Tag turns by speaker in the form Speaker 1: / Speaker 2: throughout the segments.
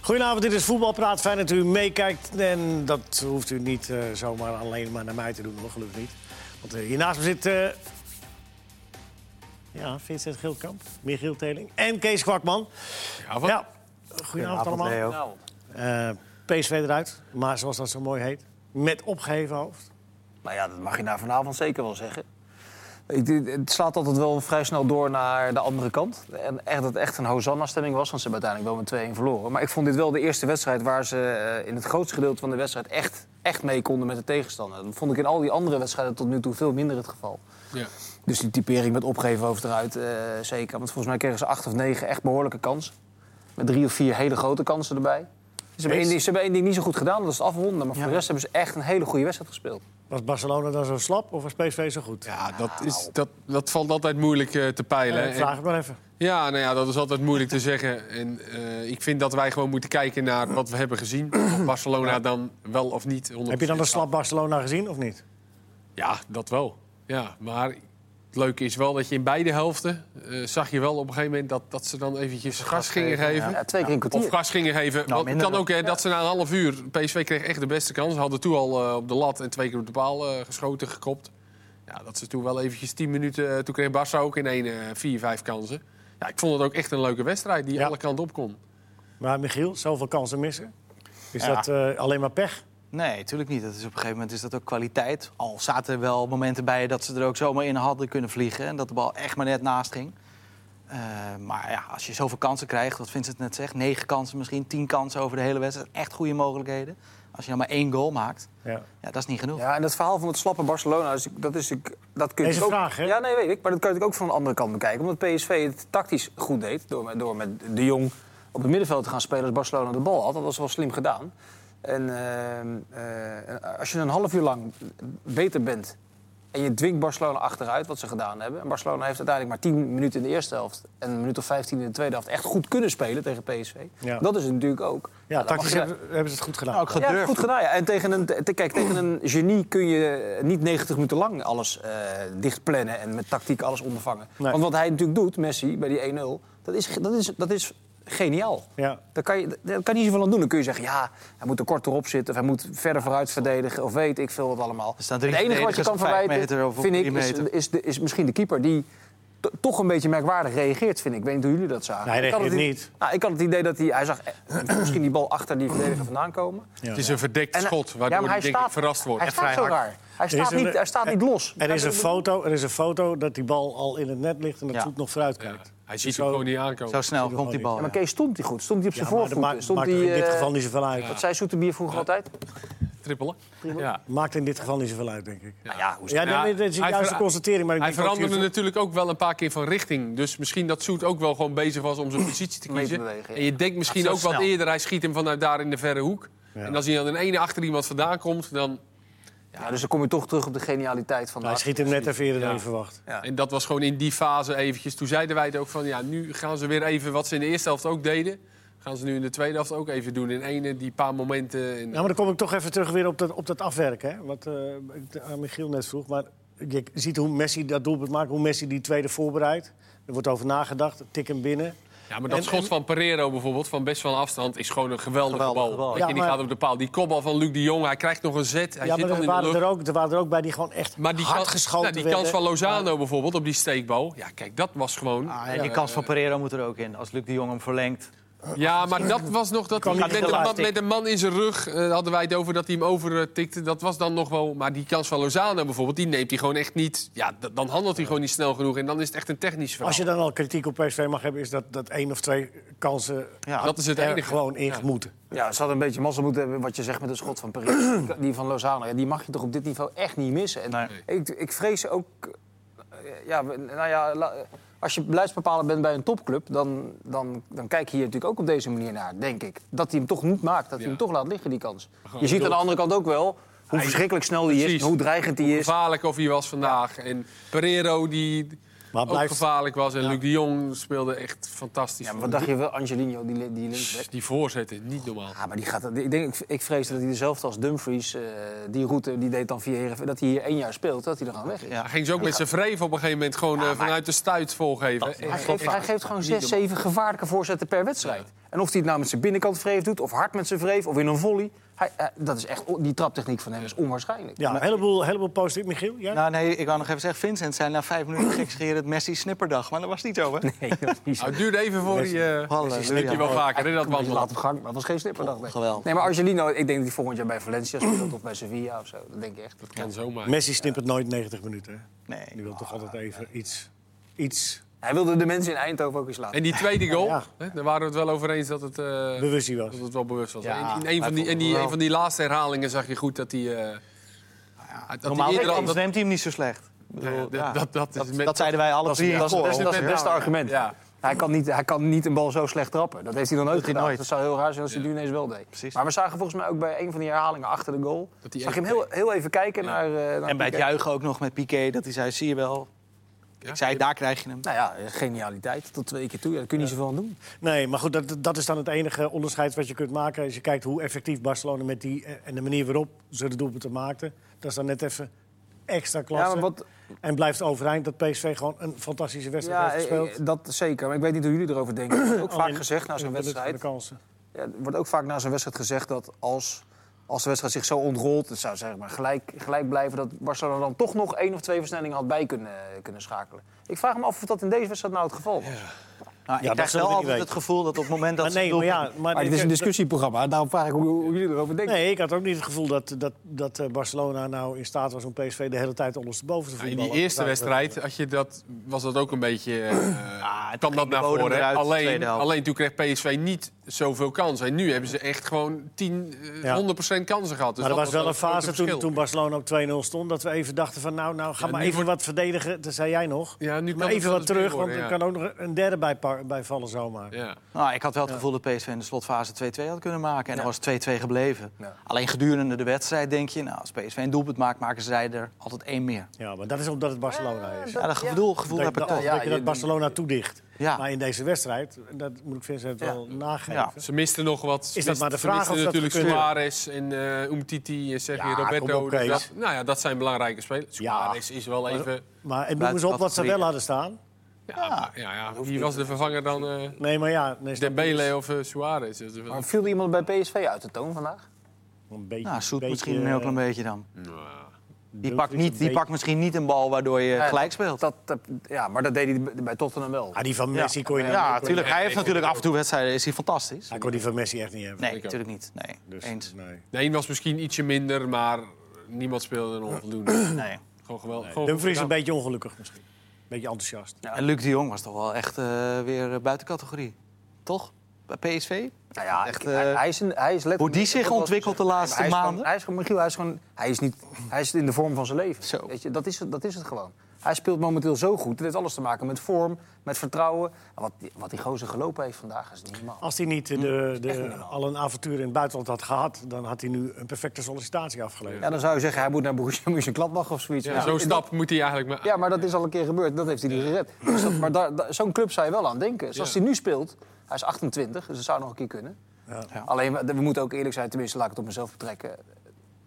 Speaker 1: Goedenavond, dit is Voetbalpraat. Fijn dat u meekijkt. En dat hoeft u niet eh, zomaar alleen maar naar mij te doen, hoor. Gelukkig niet. Want eh, hiernaast me zit... eh, ja, Vincent Gilkamp, Michiel Teling en Kees Kwakman.
Speaker 2: Ja, wat?
Speaker 1: Ja, goedenavond allemaal.
Speaker 3: Nou,
Speaker 1: Eh, PSV eruit, maar zoals dat zo mooi heet, met opgeheven hoofd.
Speaker 3: nou ja, dat mag je na vanavond zeker wel zeggen. Ik, dit- het slaat altijd wel vrij snel door naar de andere kant. En echt, dat het echt een Hosanna-stemming was, want ze hebben uiteindelijk wel met 2-1 verloren. Maar ik vond dit wel de eerste wedstrijd waar ze eh, in het grootste gedeelte van de wedstrijd echt, echt mee konden met de tegenstander. Dat vond ik in al die andere wedstrijden tot nu toe veel minder het geval.
Speaker 2: Ja.
Speaker 3: Dus die typering met opgeven hoofd eruit, eh, zeker. Want volgens mij kregen ze acht of negen echt behoorlijke kansen. Met drie of vier hele grote kansen erbij. Ze hebben één ding- ze hebben één ding niet zo goed gedaan, dat is het afronden. Maar voor de rest hebben ze echt een hele goede wedstrijd gespeeld.
Speaker 1: Was Barcelona dan zo slap of was PSV zo goed?
Speaker 2: Ja, dat, is, dat, dat valt altijd moeilijk eh, te peilen.
Speaker 1: Nou, Eh,
Speaker 2: En-
Speaker 1: vraag het maar even.
Speaker 2: Ja, nou ja, dat is altijd moeilijk te zeggen. En eh, ik vind dat wij gewoon moeten kijken naar wat we hebben gezien. Of Barcelona dan wel of niet. 100%
Speaker 1: Heb je dan een slap Barcelona gezien of niet?
Speaker 2: Ja, dat wel. Ja, maar het leuke is wel dat je in beide helften... eh, zag je wel op een gegeven moment dat, dat ze dan eventjes gas gingen geven.
Speaker 3: Ja, twee keer een kwartier.
Speaker 2: Of gas gingen geven. Want het
Speaker 3: minder
Speaker 2: kan ook hè, dat ze na een half uur... PSV kreeg echt de beste kans. Hadden toen al eh, op de lat en twee keer op de paal eh, geschoten, gekopt. Ja, dat ze toen wel eventjes tien minuten... eh, toen kreeg Barça ook in één eh, vier, vijf kansen. Ja, ik vond het ook echt een leuke wedstrijd die
Speaker 1: Ja.
Speaker 2: alle kanten op kon.
Speaker 1: Maar Michiel, zoveel kansen missen. Is
Speaker 4: Ja.
Speaker 1: dat eh, alleen maar pech?
Speaker 4: Nee, natuurlijk niet. Dat is op een gegeven moment is dat ook kwaliteit. Al zaten er wel momenten bij dat ze er ook zomaar in hadden kunnen vliegen. En dat de bal echt maar net naast ging. Eh, maar ja, als je zoveel kansen krijgt, wat Vincent net zegt... negen kansen misschien, tien kansen over de hele wedstrijd. Echt goede mogelijkheden. Als je nou maar één goal maakt,
Speaker 1: Ja.
Speaker 4: ja, dat is niet genoeg.
Speaker 3: Ja, en dat verhaal van het slappe Barcelona, dus ik- dat is ik, dat kun je
Speaker 1: Deze
Speaker 3: natuurlijk ook,
Speaker 1: vraag, hè?
Speaker 3: Ja, nee, weet ik. Maar dat kan je natuurlijk ook van de andere kant bekijken. Omdat PSV het tactisch goed deed door, met- door met de Jong op het middenveld te gaan spelen als Barcelona de bal had. Dat was wel slim gedaan. En ehm, eh, als je een half uur lang beter bent en je dwingt Barcelona achteruit, wat ze gedaan hebben. En Barcelona heeft uiteindelijk maar 10 minuten in de eerste helft en een minuut of 15 in de tweede helft echt goed kunnen spelen tegen PSV.
Speaker 1: Ja.
Speaker 3: Dat is het natuurlijk ook. Nou,
Speaker 1: Ja,
Speaker 3: dan mag
Speaker 1: tactisch
Speaker 3: je-
Speaker 1: hebben, hebben ze het goed gedaan.
Speaker 4: Nou, ook
Speaker 3: ja, dat is
Speaker 4: gedurfd.
Speaker 3: goed gedaan. Ja. En tegen een, te- kijk, tegen een genie kun je niet 90 minuten lang alles eh dicht plannen en met tactiek alles ondervangen.
Speaker 1: Nee.
Speaker 3: Want wat hij natuurlijk doet, Messi, bij die 1-0, dat is, ge- dat is, dat is geniaal.
Speaker 1: Ja.
Speaker 3: Daar kan, je, daar kan je niet zoveel aan doen. Dan kun je zeggen, ja, hij moet er kort erop zitten... of hij moet verder vooruit verdedigen, of weet ik veel wat allemaal.
Speaker 4: Er staan drie
Speaker 3: het enige wat je
Speaker 4: verdedigers
Speaker 3: kan
Speaker 4: op vijf meter
Speaker 3: verwijten,
Speaker 4: of op
Speaker 3: vind ik,
Speaker 4: drie
Speaker 3: is,
Speaker 4: meter.
Speaker 3: is, de- is misschien de keeper... die to- toch een beetje merkwaardig reageert, vind ik. Ik weet niet hoe jullie dat zagen.
Speaker 1: Nee, hij
Speaker 3: Ik had het
Speaker 1: reageert
Speaker 3: i- Nou, ik had het idee dat hij... Hij zag eh, misschien die bal achter die verdediger vandaan komen.
Speaker 2: Het is een verdekt
Speaker 3: En- eh,
Speaker 2: schot waardoor
Speaker 3: ja, maar
Speaker 2: hij denk ik verrast wordt.
Speaker 3: Hij
Speaker 2: En vrij
Speaker 3: staat zo
Speaker 2: hard.
Speaker 3: raar. Hij
Speaker 1: Er is
Speaker 3: staat,
Speaker 1: een-
Speaker 3: niet, hij staat niet los.
Speaker 1: Er is, een foto, er is een foto dat die bal al in het net ligt en dat
Speaker 4: Ja.
Speaker 1: voet nog vooruit
Speaker 2: Ja,
Speaker 1: kijkt. Dus
Speaker 2: hij ziet hem gewoon niet aankomen.
Speaker 4: Zo snel komt die bal.
Speaker 3: Ja, maar Kees stond hij goed. Stond hij op zijn
Speaker 1: Ja, maar dat
Speaker 3: voorvoeten?
Speaker 1: maakt,
Speaker 3: stond
Speaker 1: maakt
Speaker 3: hij,
Speaker 1: er in dit
Speaker 3: eh,
Speaker 1: geval niet zoveel uit.
Speaker 3: Wat zei Soeterbier vroeger altijd?
Speaker 2: Trippelen. Ja.
Speaker 1: Maakt in dit geval niet zoveel uit, denk ik.
Speaker 3: Nou ja, hoe is
Speaker 1: Ja,
Speaker 2: Ja,
Speaker 1: nee, dat is
Speaker 2: hij
Speaker 1: juist juiste
Speaker 2: ver-
Speaker 1: constatering. Maar ik
Speaker 2: Hij
Speaker 1: denk dat
Speaker 2: veranderde
Speaker 1: u-
Speaker 2: natuurlijk ook wel een paar keer van richting. Dus misschien dat Soet ook wel gewoon bezig was om zijn positie te
Speaker 3: Mee te
Speaker 2: kiezen.
Speaker 3: bewegen, ja.
Speaker 2: En je denkt misschien
Speaker 4: Dat
Speaker 2: ook
Speaker 4: is wel
Speaker 2: wat
Speaker 4: snel.
Speaker 2: eerder, hij schiet hem vanuit daar in de verre hoek. En als hij dan in ene achter iemand vandaan komt, dan...
Speaker 3: Ja, dus dan kom je toch terug op de genialiteit van de
Speaker 1: Nou, Hij schiet hem net even eerder dan
Speaker 2: Ja.
Speaker 1: je verwacht.
Speaker 3: Ja.
Speaker 2: En dat was gewoon in die fase eventjes. Toen zeiden wij het ook van, ja, nu gaan ze weer even wat ze in de eerste helft ook deden. Gaan ze nu in de tweede helft ook even doen. In ene, die paar momenten. En...
Speaker 1: Nou, maar dan kom ik toch even terug weer op dat, op dat afwerken. Hè? Wat eh, ik aan Michiel net vroeg. Maar je ziet hoe Messi dat doelpunt maakt. Hoe Messi die tweede voorbereidt. Er wordt over nagedacht. Tik hem binnen.
Speaker 2: Ja, maar dat
Speaker 1: En-
Speaker 2: schot van Pereiro bijvoorbeeld, van best wel afstand, is gewoon een geweldige,
Speaker 4: Geweldige
Speaker 2: bal.
Speaker 4: bal.
Speaker 2: Weet
Speaker 1: Ja,
Speaker 2: je, die
Speaker 1: maar-
Speaker 2: gaat op de paal. Die kopbal van Luc de Jong, hij krijgt nog een zet. Hij
Speaker 1: ja, maar
Speaker 2: zit dan
Speaker 1: er
Speaker 2: in de
Speaker 1: waren,
Speaker 2: lucht.
Speaker 1: er, ook, er waren er ook bij die gewoon echt
Speaker 2: Maar die
Speaker 1: hard
Speaker 2: kans,
Speaker 1: geschoten
Speaker 2: nou, die
Speaker 1: werden.
Speaker 2: kans van Lozano bijvoorbeeld op die steekbal. Ja, kijk, dat was gewoon.
Speaker 4: Ah, en die kans van Pereira moet er ook in. Als Luc de Jong hem verlengt.
Speaker 2: Ja, maar dat was nog dat hij
Speaker 4: niet
Speaker 2: met,
Speaker 4: te
Speaker 2: een
Speaker 4: laat
Speaker 2: man-
Speaker 4: tikken.
Speaker 2: met een man in zijn rug eh, hadden wij het over dat hij hem overtikte. Dat was dan nog wel. Maar die kans van Lozano bijvoorbeeld, die neemt hij gewoon echt niet. Ja, d- dan handelt hij gewoon niet snel genoeg en dan is het echt een technisch verhaal.
Speaker 1: Als je dan al kritiek op PSV mag hebben, is dat, dat één of twee kansen
Speaker 4: Ja,
Speaker 2: dat is het
Speaker 1: er
Speaker 2: enige.
Speaker 1: gewoon ingemoeten.
Speaker 3: Ja, ze hadden een beetje mazzel moeten hebben wat je zegt met een schot van Paris. die van Lozano. Ja, die mag je toch op dit niveau echt niet missen. En
Speaker 4: Nee.
Speaker 3: ik, ik vrees ook... eh, Ja, we- nou ja, la- als je beleidsbepaler bent bij een topclub... Dan, dan, dan kijk je hier natuurlijk ook op deze manier naar, denk ik. Dat hij hem toch niet maakt, dat hij
Speaker 2: Ja.
Speaker 3: hem toch laat liggen, die kans.
Speaker 2: Gewoon
Speaker 3: Je ziet aan de
Speaker 2: door.
Speaker 3: andere kant ook wel hoe
Speaker 2: Hij-
Speaker 3: verschrikkelijk snel die is...
Speaker 2: Precies.
Speaker 3: en hoe dreigend die is.
Speaker 2: Gevaarlijk of hij was vandaag. En Pereiro die
Speaker 1: Maar
Speaker 2: ook
Speaker 1: blijft,
Speaker 2: gevaarlijk was. En Luc de Jong speelde echt fantastisch. Dus
Speaker 3: Ja, maar wat dacht je wel, Angelino, die, li- die linksback?
Speaker 2: Die voorzetten, niet normaal.
Speaker 3: Ja, maar die gaat, ik, denk, ik- ik vrees dat hij dezelfde als Dumfries, eh, die route, die deed dan via Heerenveen... dat hij hier één jaar speelt, dat hij er gewoon weg is.
Speaker 4: Ja.
Speaker 2: Hij ging ze ook met zijn vreef op een gegeven moment gewoon eh, vanuit de stuit volgeven.
Speaker 3: Hij, geeft, hij geeft gewoon zes, zeven gevaarlijke voorzetten per wedstrijd. En of hij het nou met zijn binnenkant vreef doet, of hard met zijn vreef, of in een volley. Hij, eh, dat is echt, die traptechniek van hem is onwaarschijnlijk.
Speaker 1: Ja, een heleboel, een heleboel positief. Michiel, jij?
Speaker 4: Nou, nee, ik wou nog even zeggen, Vincent zei na vijf minuten gekscherend Messi snipperdag. Maar daar was het niet over.
Speaker 3: Nee, dat is niet zo.
Speaker 2: Nou, het duurde even voor die... eh
Speaker 4: Halleluja.
Speaker 2: sneak je wel vaker, hè, dat
Speaker 3: Een beetje
Speaker 2: wandelen.
Speaker 3: laat op gang, maar dat was geen snipperdag. nee.
Speaker 4: Geweldig.
Speaker 3: Nee, maar Angelino, nou, ik denk dat hij volgend jaar bij Valencia speelt of bij Sevilla of zo. Dat denk ik echt.
Speaker 2: Dat kan zomaar.
Speaker 1: Messi snippert nooit 90 minuten. hè?
Speaker 4: Nee.
Speaker 1: Die wil toch altijd even iets... iets
Speaker 3: Hij wilde de mensen in Eindhoven ook eens laten.
Speaker 2: En die tweede goal,
Speaker 1: Ja.
Speaker 2: hè, daar waren we het wel over eens dat het, eh,
Speaker 1: bewustzijn was.
Speaker 2: dat het wel bewust was.
Speaker 4: Ja,
Speaker 2: in, in een van die, in die,
Speaker 4: wel.
Speaker 2: een van die laatste herhalingen zag je goed dat hij... eh, dat hij
Speaker 4: Normaal
Speaker 2: eerder al-
Speaker 4: anders neemt hij hem niet zo slecht. Ik bedoel,
Speaker 2: Ja,
Speaker 4: ja.
Speaker 2: dat, dat, dat, is met-
Speaker 4: Dat zeiden wij alle drie in
Speaker 3: Dat is,
Speaker 4: koor.
Speaker 3: dat is het beste argument.
Speaker 2: Ja.
Speaker 3: Hij, kan niet, hij kan niet een bal zo slecht trappen. Dat heeft hij dan nooit
Speaker 4: Dat hij
Speaker 3: gedaan.
Speaker 4: nooit.
Speaker 3: Dat zou heel raar zijn als hij
Speaker 2: Ja.
Speaker 3: het nu ineens wel deed.
Speaker 4: Precies.
Speaker 3: Maar we zagen volgens mij ook bij een van die herhalingen achter de goal...
Speaker 2: Dat hij
Speaker 3: zag je
Speaker 2: even
Speaker 3: hem heel, heel even kijken naar, eh, naar
Speaker 4: En bij het
Speaker 3: Piqué.
Speaker 4: juichen ook nog met Piqué, dat hij zei, zie je wel.
Speaker 2: Ja.
Speaker 4: Ik zei, daar krijg je hem.
Speaker 3: Nou ja, genialiteit. Tot twee keer toe. Ja, daar kun je niet zoveel aan doen.
Speaker 1: Nee, maar goed, dat, dat is dan het enige onderscheid wat je kunt maken. Als je kijkt hoe effectief Barcelona met die... eh, en de manier waarop ze de doelpunten maakten... dat is dan net even extra klasse.
Speaker 3: Ja, maar wat,
Speaker 1: En blijft overeind dat PSV gewoon een fantastische wedstrijd
Speaker 3: ja,
Speaker 1: heeft
Speaker 3: eh,
Speaker 1: gespeeld.
Speaker 3: eh, dat zeker. Maar ik weet niet hoe jullie erover denken. Er wordt ook vaak
Speaker 1: Alleen,
Speaker 3: gezegd na
Speaker 1: in
Speaker 3: zo'n
Speaker 1: de benut van
Speaker 3: wedstrijd...
Speaker 1: De kansen.
Speaker 3: Ja, er wordt ook vaak na zo'n wedstrijd gezegd dat als, als de wedstrijd zich zo ontrolt... het zou zeg maar gelijk, gelijk blijven dat Barcelona dan toch nog één of twee versnellingen had bij kunnen, eh, kunnen schakelen. Ik vraag me af of dat in deze wedstrijd nou het geval was.
Speaker 4: Nou, ik
Speaker 1: dat
Speaker 4: krijg
Speaker 1: zullen
Speaker 4: wel
Speaker 1: we niet
Speaker 4: altijd het
Speaker 1: weten.
Speaker 4: gevoel dat op het moment dat
Speaker 1: Maar
Speaker 4: ze
Speaker 1: nee,
Speaker 4: het
Speaker 1: maar ja,
Speaker 4: doelpunt-
Speaker 1: maar ik-
Speaker 3: discussieprogramma, daarom vraag ik hoe, jullie erover denken.
Speaker 1: Nee, ik had ook niet het gevoel dat, dat, dat eh, Barcelona nou in staat was om PSV de hele tijd ondersteboven te
Speaker 2: Ja, in
Speaker 1: voetballen.
Speaker 2: die eerste wedstrijd eh, had je dat, was dat ook een beetje. eh kwam dat
Speaker 4: de
Speaker 2: naar
Speaker 4: bodem
Speaker 2: voren. hè?
Speaker 4: eruit,
Speaker 2: Alleen,
Speaker 4: tweede helft.
Speaker 2: alleen toen kreeg PSV niet zoveel kansen. En nu hebben ze echt gewoon 10, eh,
Speaker 1: Ja.
Speaker 2: 100% kansen gehad. Dus
Speaker 1: maar er was wel een
Speaker 2: het grote
Speaker 1: fase toen,
Speaker 2: verschil.
Speaker 1: toen Barcelona op 2-0 stond... dat we even dachten van nou, nou ga
Speaker 2: Ja,
Speaker 1: maar
Speaker 2: nu
Speaker 1: even
Speaker 2: wordt-
Speaker 1: wat verdedigen. Dat zei jij nog.
Speaker 2: Ja, nu
Speaker 1: Maar
Speaker 2: kan het
Speaker 1: even
Speaker 2: wel
Speaker 1: wat
Speaker 2: eens
Speaker 1: terug,
Speaker 2: meer
Speaker 1: want
Speaker 2: worden,
Speaker 1: er
Speaker 2: ja.
Speaker 1: kan ook nog een derde bij, par- bij vallen zomaar.
Speaker 2: Ja.
Speaker 4: Nou, ik had wel het gevoel dat PSV in de slotfase 2-2 had kunnen maken. En dan was het 2-2 gebleven.
Speaker 3: Ja.
Speaker 4: Alleen gedurende de wedstrijd denk je, nou, als PSV een doelpunt maakt, maken zij er altijd één meer.
Speaker 1: Ja, maar dat is omdat het Barcelona is.
Speaker 4: Ja, dat gevoel, gevoel
Speaker 1: dat,
Speaker 4: heb ik
Speaker 1: dat,
Speaker 4: toch.
Speaker 1: dat je dat Barcelona toedicht.
Speaker 4: Ja.
Speaker 1: Maar in deze wedstrijd, en dat moet ik Vincent wel nageven...
Speaker 4: Ja.
Speaker 2: Ze misten nog wat. Ze
Speaker 1: Is dat maar de
Speaker 2: misten-
Speaker 1: vraag
Speaker 2: ze
Speaker 1: of dat
Speaker 2: misten natuurlijk
Speaker 1: gebeurt?
Speaker 2: Suarez en eh Umtiti en Sergio
Speaker 1: Ja, kom
Speaker 2: Roberto.
Speaker 1: op,
Speaker 2: Dus
Speaker 1: Kees.
Speaker 2: dat, nou ja, dat zijn belangrijke spelers.
Speaker 1: Ja.
Speaker 2: Suarez is wel even.
Speaker 1: Maar en noem
Speaker 4: Buiten
Speaker 1: eens op wat ze
Speaker 4: categorie.
Speaker 1: wel hadden staan.
Speaker 2: Ja, ja. ja, Wie was de vervanger dan? eh
Speaker 1: Nee, maar ja... Nee, snap je?
Speaker 2: Dembele of eh, Suarez? Dat is wel-
Speaker 3: Maar viel iemand bij PSV uit de toon vandaag?
Speaker 1: Een beetje,
Speaker 4: Nou, zoet
Speaker 1: beetje,
Speaker 4: misschien een heel klein beetje dan. Die,
Speaker 1: Dumfries
Speaker 4: pakt, niet,
Speaker 1: een
Speaker 4: die
Speaker 1: beetje-
Speaker 4: pakt misschien niet een bal waardoor je gelijk speelt.
Speaker 3: Dat, dat- ja, maar dat deed hij bij- bij Tottenham wel.
Speaker 1: Ah, die van Messi kon je niet.
Speaker 4: Ja, natuurlijk. Hij heeft natuurlijk af en toe wedstrijden, is hij fantastisch.
Speaker 1: Hij kon die van Messi echt niet hebben.
Speaker 4: Nee,
Speaker 2: ook.
Speaker 4: natuurlijk niet. Nee,
Speaker 1: Dus,
Speaker 4: eens.
Speaker 1: nee.
Speaker 2: De een was misschien ietsje minder, maar niemand speelde een onvoldoende.
Speaker 4: Nee.
Speaker 2: Gewoon geweldig. Gewoon goed
Speaker 1: Dumfries
Speaker 2: gedaan.
Speaker 1: een beetje ongelukkig misschien. Een beetje enthousiast.
Speaker 4: En Luc de Jong was toch wel echt eh, weer eh, buiten categorie. Toch? Bij PSV?
Speaker 3: Nou ja,
Speaker 4: Echt,
Speaker 3: ik- hij,
Speaker 4: eh,
Speaker 3: hij is een, hij is letterlijk-
Speaker 4: hoe die zich
Speaker 3: dat was-
Speaker 4: ontwikkelt de
Speaker 3: Nee, maar
Speaker 4: laatste
Speaker 3: hij is gewoon-
Speaker 4: maanden.
Speaker 3: hij is gewoon, Michiel, hij is gewoon, hij is niet, hij is in de vorm van zijn leven.
Speaker 4: Zo.
Speaker 3: Weet je, dat is, het- dat is het gewoon. Hij speelt momenteel zo goed. Het heeft alles te maken met vorm, met vertrouwen. En wat, die- wat die gozer gelopen heeft vandaag is niet normaal.
Speaker 1: Als hij niet eh, de, de, al een avontuur in het buitenland had gehad... dan had hij nu een perfecte sollicitatie afgeleverd.
Speaker 3: Ja, dan zou je zeggen, hij moet naar Borussia Mönchengladbach of zoiets.
Speaker 2: Ja,
Speaker 3: Ja.
Speaker 2: Zo'n stap moet hij eigenlijk maar.
Speaker 3: Ja, maar dat is al een keer gebeurd. Dat heeft hij niet gered. Dus dat, maar daar, daar- zo'n club zou je wel aan denken. Zoals
Speaker 2: Ja.
Speaker 3: hij nu speelt, hij is 28, dus dat zou nog een keer kunnen.
Speaker 4: Ja.
Speaker 3: Alleen, we we moeten ook eerlijk zijn, tenminste laat ik het op mezelf betrekken.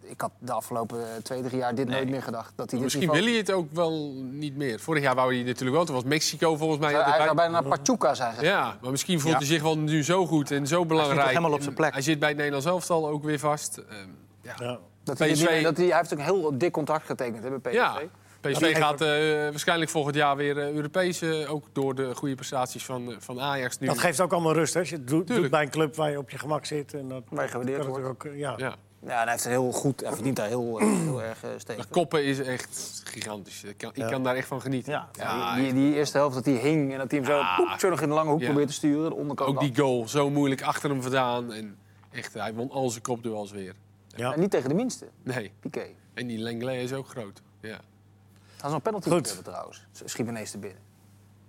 Speaker 3: Ik had de afgelopen eh, twee, drie jaar dit nooit meer gedacht. Dat hij dit
Speaker 2: Misschien
Speaker 3: niveau-
Speaker 2: wil hij het ook wel niet meer. Vorig jaar wou hij natuurlijk wel. Toen was Mexico volgens mij.
Speaker 3: Hij,
Speaker 2: altijd
Speaker 3: zou
Speaker 2: bij-
Speaker 3: bijna naar Pachuca zijn gegaan.
Speaker 2: Ja, maar misschien voelt hij zich wel nu zo goed en zo belangrijk.
Speaker 4: toch helemaal op zijn plek?
Speaker 2: Hij zit bij het Nederlands elftal ook weer vast. Ehm, ja.
Speaker 1: Ja.
Speaker 3: Dat hij, dit
Speaker 2: PSV
Speaker 3: niet meer- dat hij, hij heeft ook een heel dik contract getekend hè, bij PSV.
Speaker 2: Ja.
Speaker 1: Ja,
Speaker 2: PSV gaat eh, waarschijnlijk volgend jaar weer eh, Europees. eh, ook door de goede prestaties van, eh, van Ajax nu.
Speaker 1: Dat geeft ook allemaal rust, hè? Als je het doet, doet
Speaker 2: Tuurlijk.
Speaker 1: bij een club waar je op je gemak zit... En dat,
Speaker 3: Waar je gewaardeerd
Speaker 1: kan het
Speaker 3: wordt.
Speaker 1: ook, eh, ja.
Speaker 2: ja.
Speaker 3: Ja, en hij heeft een heel goed, hij verdient daar heel, eh, heel erg eh,
Speaker 2: Maar
Speaker 3: stevig.
Speaker 2: koppen is echt gigantisch. Ik kan, ik kan daar echt van genieten.
Speaker 4: Ja.
Speaker 3: Ja, die, die eerste helft dat hij hing en dat hij hem zo, poep, zo nog in de lange hoek
Speaker 2: Ja.
Speaker 3: probeert te sturen. De onderkant
Speaker 2: Ook
Speaker 3: af.
Speaker 2: die goal, zo moeilijk achter hem vandaan. En echt, hij won al zijn kopduels weer.
Speaker 1: Ja.
Speaker 3: En niet tegen de minste,
Speaker 2: Nee,
Speaker 3: Piqué.
Speaker 2: en die Lenglet is ook groot. Ja.
Speaker 3: Gaan ze nog penalty
Speaker 1: Goed.
Speaker 3: hebben trouwens? Ze Schiet me ineens te binnen.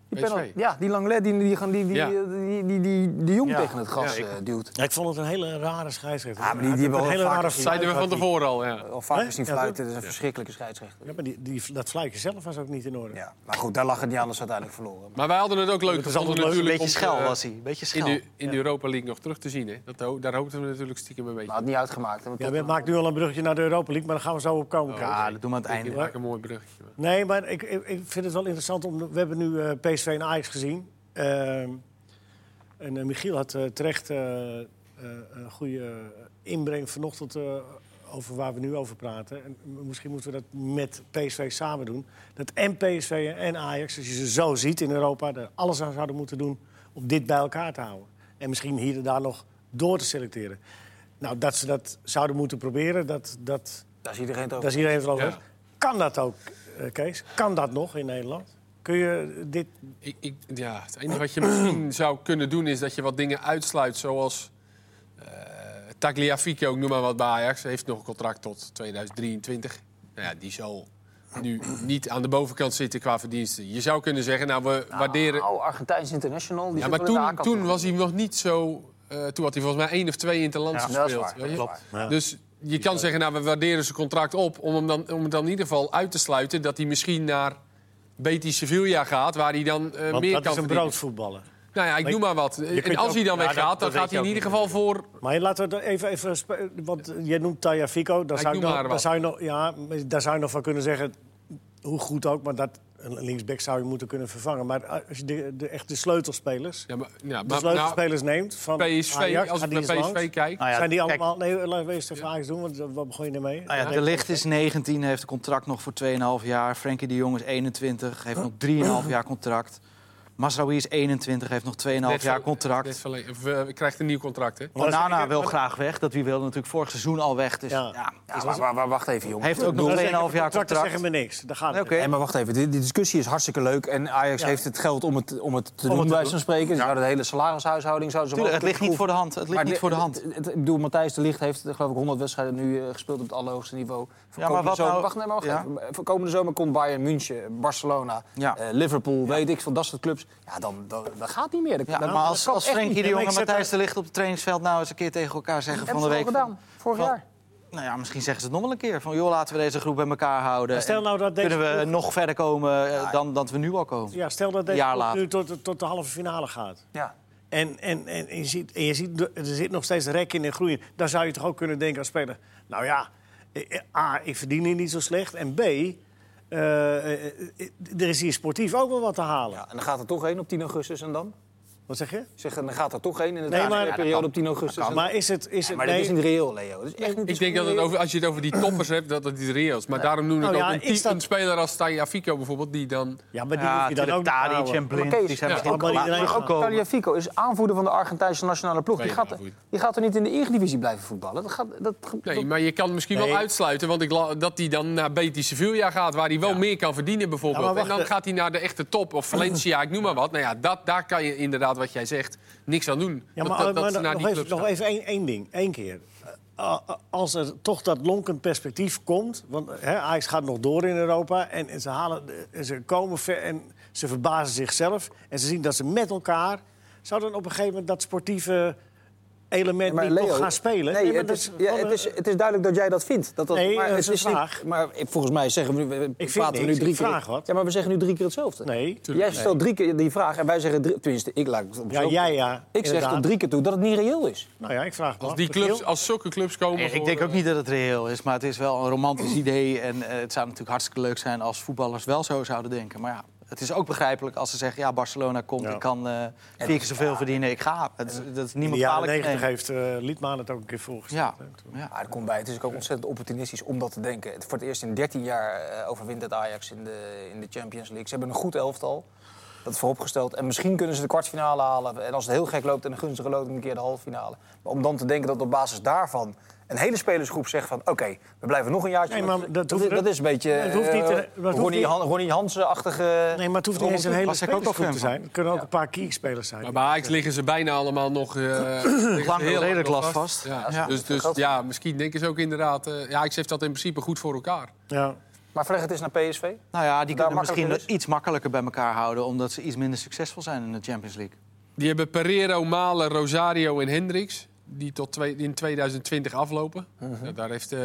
Speaker 3: Die
Speaker 2: PSV.
Speaker 3: penalty, ja, die Langlet die, die, die, die, die,
Speaker 2: Ja.
Speaker 3: die, die, die de jong
Speaker 1: Ja.
Speaker 3: tegen het gas
Speaker 2: Ja, ik-
Speaker 3: eh, duwt.
Speaker 1: Ja, Ik vond het een hele rare scheidsrechter.
Speaker 3: Ja, maar die- die hebben
Speaker 1: een
Speaker 3: we
Speaker 1: hele
Speaker 3: al vaker
Speaker 1: rare
Speaker 3: gezien.
Speaker 1: fluit
Speaker 2: Zeiden we van
Speaker 1: had hij.
Speaker 2: tevaker al, ja.
Speaker 3: Al vaker
Speaker 1: Hè?
Speaker 3: zien
Speaker 1: Ja,
Speaker 3: fluiten, dat is een verschrikkelijke scheidsrechter.
Speaker 1: Ja, maar die, die, dat fluitje zelf was ook niet in orde.
Speaker 3: Ja. Maar goed, daar lag het niet aan dat ze uiteindelijk verloren.
Speaker 2: Maar wij hadden het ook leuk
Speaker 1: Het is
Speaker 2: gevonden
Speaker 1: altijd leuk,
Speaker 4: Een
Speaker 2: natuurlijk
Speaker 4: beetje
Speaker 2: om,
Speaker 4: schel
Speaker 2: eh,
Speaker 4: was hij. Een beetje
Speaker 2: in
Speaker 4: schel.
Speaker 2: de, in de Europa League nog terug te zien. Hè. Dat, ho- daar hoopten we natuurlijk stiekem een
Speaker 3: Maar
Speaker 2: beetje.
Speaker 3: had niet uitgemaakt. hè, want
Speaker 1: Ja, we
Speaker 3: Tottenham-
Speaker 1: maken nu al een bruggetje naar de Europa League, maar daar gaan we zo op komen. Chris.
Speaker 4: Ja, dat doen we aan het
Speaker 2: Ik
Speaker 4: einde.
Speaker 2: maak een mooi bruggetje. maar-
Speaker 1: Nee, maar ik, ik ik vind het wel interessant. Om, we hebben nu eh, PSV en Ajax gezien. Ehm, En eh, Michiel had eh, terecht eh, eh, een goede inbreng vanochtend eh, over waar we nu over praten. En misschien moeten we dat met PSV samen doen. Dat en PSV en Ajax, als je ze zo ziet in Europa, er alles aan zouden moeten doen om dit bij elkaar te houden. En misschien hier en daar nog door te selecteren. Nou, dat ze dat zouden moeten proberen, dat, dat,
Speaker 3: Daar is iedereen het
Speaker 1: dat
Speaker 3: over.
Speaker 1: is iedereen het over.
Speaker 2: Ja.
Speaker 1: eens. Kan dat ook, eh, Kees? Kan dat nog in Nederland? Kun je dit...
Speaker 2: Ik, ik, ja, het enige wat je misschien zou kunnen doen is dat je wat dingen uitsluit. Zoals eh Tagliafico, ik noem maar wat bij Ajax, heeft nog een contract tot 2023. Nou ja, die zal nu niet aan de bovenkant zitten qua verdiensten. Je zou kunnen zeggen, nou we waarderen...
Speaker 3: Nou, Argentijns International. Die
Speaker 2: Ja,
Speaker 3: zit
Speaker 2: maar
Speaker 3: wel in de
Speaker 2: toen,
Speaker 3: A-categorie.
Speaker 2: toen was hij nog niet zo... eh, toen had hij volgens mij één of twee interlands
Speaker 3: Ja, dat is
Speaker 2: gespeeld.
Speaker 3: waar.
Speaker 2: weet je?
Speaker 3: Klopt.
Speaker 1: Ja.
Speaker 2: Dus je kan zeggen, nou, we waarderen zijn contract op... Om, hem dan, om het dan in ieder geval uit te sluiten... dat hij misschien naar Betis Sevilla gaat... waar hij dan eh,
Speaker 1: Want
Speaker 2: meer
Speaker 1: dat
Speaker 2: kan
Speaker 1: is een
Speaker 2: verdienen.
Speaker 1: broodvoetballer.
Speaker 2: Nou ja, ik
Speaker 1: Maar
Speaker 2: noem maar wat. En
Speaker 1: kunt
Speaker 2: als
Speaker 1: ook-
Speaker 2: hij dan
Speaker 1: ja,
Speaker 2: weggaat,
Speaker 1: dat-
Speaker 2: dan
Speaker 1: dat
Speaker 2: gaat
Speaker 1: weet
Speaker 2: hij in
Speaker 1: je
Speaker 2: ieder geval voor...
Speaker 1: Maar laten we er even, even spe- want jij noemt Taya Fico, daar
Speaker 2: Ik
Speaker 1: zou, ik
Speaker 2: noem
Speaker 1: nog,
Speaker 2: maar
Speaker 1: daar,
Speaker 2: wat.
Speaker 1: zou je nog, ja, maar daar zou je nog van kunnen zeggen, hoe goed ook, maar dat een linksback zou je moeten kunnen vervangen. Maar eh, als je de, de, echt de sleutelspelers,
Speaker 2: Ja, maar, ja,
Speaker 1: de
Speaker 2: maar, nou,
Speaker 1: sleutelspelers neemt van
Speaker 2: PSV,
Speaker 1: Ajax,
Speaker 2: als
Speaker 1: gaat
Speaker 2: ik
Speaker 1: die
Speaker 2: naar
Speaker 1: eens
Speaker 2: PSV
Speaker 1: langs?
Speaker 2: kijk...
Speaker 4: Nou ja,
Speaker 1: zijn die
Speaker 4: kijk,
Speaker 1: allemaal? Nee, laten we eerst even Ajax doen, want wat begon je ermee?
Speaker 4: Nou ja, de licht is 19, heeft een contract nog voor 2,5 jaar. Frenkie de Jong is 21, heeft nog 3,5 jaar contract. Masraoui is 21, heeft nog
Speaker 3: Nou,
Speaker 4: 2,5 jaar
Speaker 2: Net
Speaker 4: contract.
Speaker 2: verleden- of, eh, krijgt een nieuw contract, hè?
Speaker 4: Onana wil graag weg, dat wie wilde natuurlijk vorig seizoen al weg. Dus
Speaker 1: Ja.
Speaker 4: ja.
Speaker 3: Ja, maar, maar- maar wacht even, jongen.
Speaker 4: Heeft ook nog 2,5 jaar
Speaker 1: Contracten zeggen
Speaker 4: contract.
Speaker 1: me niks, daar gaat
Speaker 4: Nee,
Speaker 1: het
Speaker 4: oké.
Speaker 3: Nee, maar wacht even. Die, die discussie is hartstikke leuk. En Ajax
Speaker 1: Ja.
Speaker 3: heeft het geld om het, om het te doen, bij zo'n spreken. Ze zouden de hele salarishuishouding... Zouden ze
Speaker 4: Tuurlijk,
Speaker 3: wel-
Speaker 4: het ligt niet voor de hand. Het ligt
Speaker 3: Maar
Speaker 4: niet
Speaker 3: het-
Speaker 4: voor de hand.
Speaker 3: het- het- ik bedoel, Matthijs de Ligt heeft eh, geloof ik 100 wedstrijden nu eh, gespeeld op het allerhoogste niveau. Voor
Speaker 4: Ja, maar
Speaker 3: komende
Speaker 4: wat
Speaker 3: zomer,
Speaker 4: nou-
Speaker 3: Wacht, nee, maar wacht
Speaker 4: Ja.
Speaker 3: even. Voor komende zomer komt Bayern München, Barcelona,
Speaker 4: Ja.
Speaker 3: eh, Liverpool, weet ik veel, dat soort clubs. Ja, dan, dan, dan gaat niet meer. Dat,
Speaker 4: Ja,
Speaker 3: dat-
Speaker 1: Nou,
Speaker 4: maar
Speaker 3: dat
Speaker 4: als,
Speaker 3: kan
Speaker 4: als
Speaker 3: echt
Speaker 4: Frenkie
Speaker 3: niet.
Speaker 4: de Jong
Speaker 1: ik
Speaker 4: en
Speaker 1: zet
Speaker 4: Matthijs de Ligt op het trainingsveld nou eens een keer tegen elkaar zeggen van
Speaker 3: Hebben
Speaker 4: de
Speaker 3: ze al
Speaker 4: week. van-
Speaker 3: gedaan, vorig
Speaker 4: van-
Speaker 3: jaar.
Speaker 4: nou ja, misschien zeggen ze het nog wel een keer. Van joh, laten we deze groep bij elkaar houden.
Speaker 1: stel
Speaker 4: En
Speaker 1: nou dat deze
Speaker 4: Kunnen we
Speaker 1: ploeg-
Speaker 4: nog verder komen eh, dan dat we nu al komen?
Speaker 1: Ja, stel dat
Speaker 4: Een jaar
Speaker 1: deze ploeg
Speaker 4: later.
Speaker 1: nu tot, tot de halve finale gaat.
Speaker 3: Ja.
Speaker 1: En, en, en, en je ziet, en je ziet, er zit nog steeds rek in en groeien. Dan zou je toch ook kunnen denken als speler... nou ja, eh, eh, A, ik verdien hier niet zo slecht. En B, eh, eh, eh, er is hier sportief ook wel wat te halen.
Speaker 3: ja, en dan gaat er toch heen op 10 augustus en dan?
Speaker 1: Wat zeg je?
Speaker 3: Ik Zeg, dan gaat er toch heen in
Speaker 1: Nee,
Speaker 3: de
Speaker 1: maar-
Speaker 3: transferperiode
Speaker 1: Ja, dat
Speaker 3: periode op 10 augustus. en dan?
Speaker 1: Maar is het... Is het
Speaker 3: Maar
Speaker 1: nee,
Speaker 3: dat is niet reëel, Leo. Dat is echt niet
Speaker 2: Ik denk dat het over, als je het over die toppers hebt, dat het niet reëel is. Maar daarom noem ik
Speaker 1: Nou ja,
Speaker 2: ook een,
Speaker 1: is
Speaker 2: type-
Speaker 1: dat-
Speaker 2: een speler als Tagliafico bijvoorbeeld, die dan...
Speaker 1: ja, maar die
Speaker 4: Ja,
Speaker 1: hoef je dan ook niet te
Speaker 4: natuurlijk, Tadic
Speaker 1: houden.
Speaker 4: en Blind,
Speaker 3: Maar Kees,
Speaker 4: die zijn
Speaker 2: ja,
Speaker 4: misschien
Speaker 1: maar
Speaker 4: ook,
Speaker 1: iedereen
Speaker 4: maar
Speaker 1: gaat-
Speaker 4: ook komen.
Speaker 3: Fico is aanvoerder van de Argentijnse nationale ploeg. Die
Speaker 2: Tweede
Speaker 3: gaat,
Speaker 2: aanvoerder.
Speaker 3: die gaat er niet in de Eredivisie blijven voetballen. Dat gaat, dat, dat-
Speaker 2: Nee, maar je kan misschien
Speaker 1: Nee.
Speaker 2: wel uitsluiten, want ik la- dat hij dan naar Betis Sevilla gaat, waar hij wel meer kan verdienen bijvoorbeeld.
Speaker 1: Ja, maar
Speaker 2: en
Speaker 1: wacht,
Speaker 2: dan
Speaker 1: eh.
Speaker 2: gaat hij naar de echte top, of Valencia, ik noem maar wat. Nou ja, dat, daar kan je inderdaad, wat jij zegt, niks aan doen.
Speaker 1: Ja,
Speaker 2: Dat-
Speaker 1: maar, eh,
Speaker 2: dat, dat
Speaker 1: maar
Speaker 2: ze naar
Speaker 1: nog,
Speaker 2: die
Speaker 1: even,
Speaker 2: clubs
Speaker 1: nog even één, één ding, één keer. Eh, eh, Als er toch dat lonkend perspectief komt... want eh, hè, Ajax gaat nog door in Europa en, en ze, halen, de- en ze komen ver en ze verbazen zichzelf... en ze zien dat ze met elkaar... zou dan op een gegeven moment dat sportieve element
Speaker 3: maar
Speaker 1: niet toch gaan spelen?
Speaker 3: Nee,
Speaker 1: maar
Speaker 3: het,
Speaker 1: dat
Speaker 3: is, ja,
Speaker 1: gewoon,
Speaker 3: het,
Speaker 1: eh,
Speaker 3: is, het is duidelijk dat jij dat vindt. Dat dat,
Speaker 1: Nee, eh,
Speaker 3: maar
Speaker 1: het is
Speaker 3: het
Speaker 1: een
Speaker 3: niet-
Speaker 1: vraag.
Speaker 3: maar ik- volgens mij zeggen we, nu- we
Speaker 1: vind
Speaker 3: praten we nu
Speaker 1: niks,
Speaker 3: drie
Speaker 1: ik
Speaker 3: keer.
Speaker 1: vraag wat.
Speaker 3: Ja, maar we zeggen nu drie keer hetzelfde.
Speaker 1: Nee.
Speaker 3: Jij stelt drie keer die vraag en wij zeggen drie, tenminste, ik laat het op
Speaker 1: Ja,
Speaker 3: zo-
Speaker 1: jij ja.
Speaker 3: Ik zeg
Speaker 1: inderdaad.
Speaker 3: tot drie keer toe dat het niet reëel is.
Speaker 1: Nou ja, ik vraag me
Speaker 2: Als,
Speaker 1: af,
Speaker 2: die
Speaker 1: Michiel.
Speaker 2: clubs, als zulke clubs komen...
Speaker 4: Ik
Speaker 2: voor,
Speaker 4: denk ook
Speaker 2: eh,
Speaker 4: niet dat het reëel is, maar het is wel een romantisch idee. En eh, het zou natuurlijk hartstikke leuk zijn als voetballers wel zo zouden denken. Maar ja, het is ook begrijpelijk als ze zeggen... ja, Barcelona komt,
Speaker 1: Ja.
Speaker 4: ik kan eh vier keer zoveel verdienen, ik ga. Het, is- dat
Speaker 1: In
Speaker 4: is
Speaker 1: de
Speaker 4: niemand
Speaker 1: jaren
Speaker 4: kwalijk te
Speaker 1: negentig
Speaker 4: nemen.
Speaker 1: heeft eh Liedman het ook een keer voorgesteld.
Speaker 4: Ja,
Speaker 1: hè, toen.
Speaker 4: ja.
Speaker 3: Maar er komt bij, het is ook ontzettend opportunistisch om dat te denken. Het- Voor het eerst in 13 jaar eh, overwint het Ajax in de, in de Champions League. Ze hebben een goed elftal, dat is vooropgesteld. En misschien kunnen ze de kwartfinale halen. En als het heel gek loopt en een gunstige loopt, een keer de halve finale. Maar om dan te denken dat op basis daarvan een hele spelersgroep zegt van... oké, we blijven nog een jaartje.
Speaker 1: Nee, maar dat
Speaker 3: dat,
Speaker 1: hoeft
Speaker 3: is- dat
Speaker 1: niet-
Speaker 3: is een beetje
Speaker 1: Nee, het hoeft niet te- dat
Speaker 3: eh,
Speaker 1: hoeft
Speaker 3: Ronnie,
Speaker 1: niet-
Speaker 3: Han- Ronnie Hansen-achtige...
Speaker 1: Nee, maar het hoeft niet
Speaker 3: Rommel-
Speaker 1: eens een hele
Speaker 4: was ik ook al
Speaker 1: spelersgroep
Speaker 4: fan
Speaker 1: te
Speaker 4: van.
Speaker 1: zijn. Er kunnen ook een paar key-spelers zijn.
Speaker 2: Maar bij Ajax liggen ze bijna allemaal nog... eh, liggen ze
Speaker 4: Lang-
Speaker 2: heel
Speaker 4: redelijk
Speaker 2: nog
Speaker 4: last vast.
Speaker 2: Ja.
Speaker 4: Ja.
Speaker 2: Dus, dus ja, misschien denken ze ook inderdaad... eh ja, ik zeg dat in principe goed voor elkaar.
Speaker 1: Ja.
Speaker 3: Maar vleg het eens naar PSV.
Speaker 4: Nou ja, die
Speaker 3: Daar
Speaker 4: kunnen misschien
Speaker 3: makkelijker
Speaker 1: dus.
Speaker 4: nog iets makkelijker bij elkaar houden... omdat ze iets minder succesvol zijn in de Champions League.
Speaker 2: Die hebben Pereiro, Malen, Rosario en Hendricks. Die tot twee- in 2020 aflopen.
Speaker 3: Mhm.
Speaker 2: Nou, daar heeft eh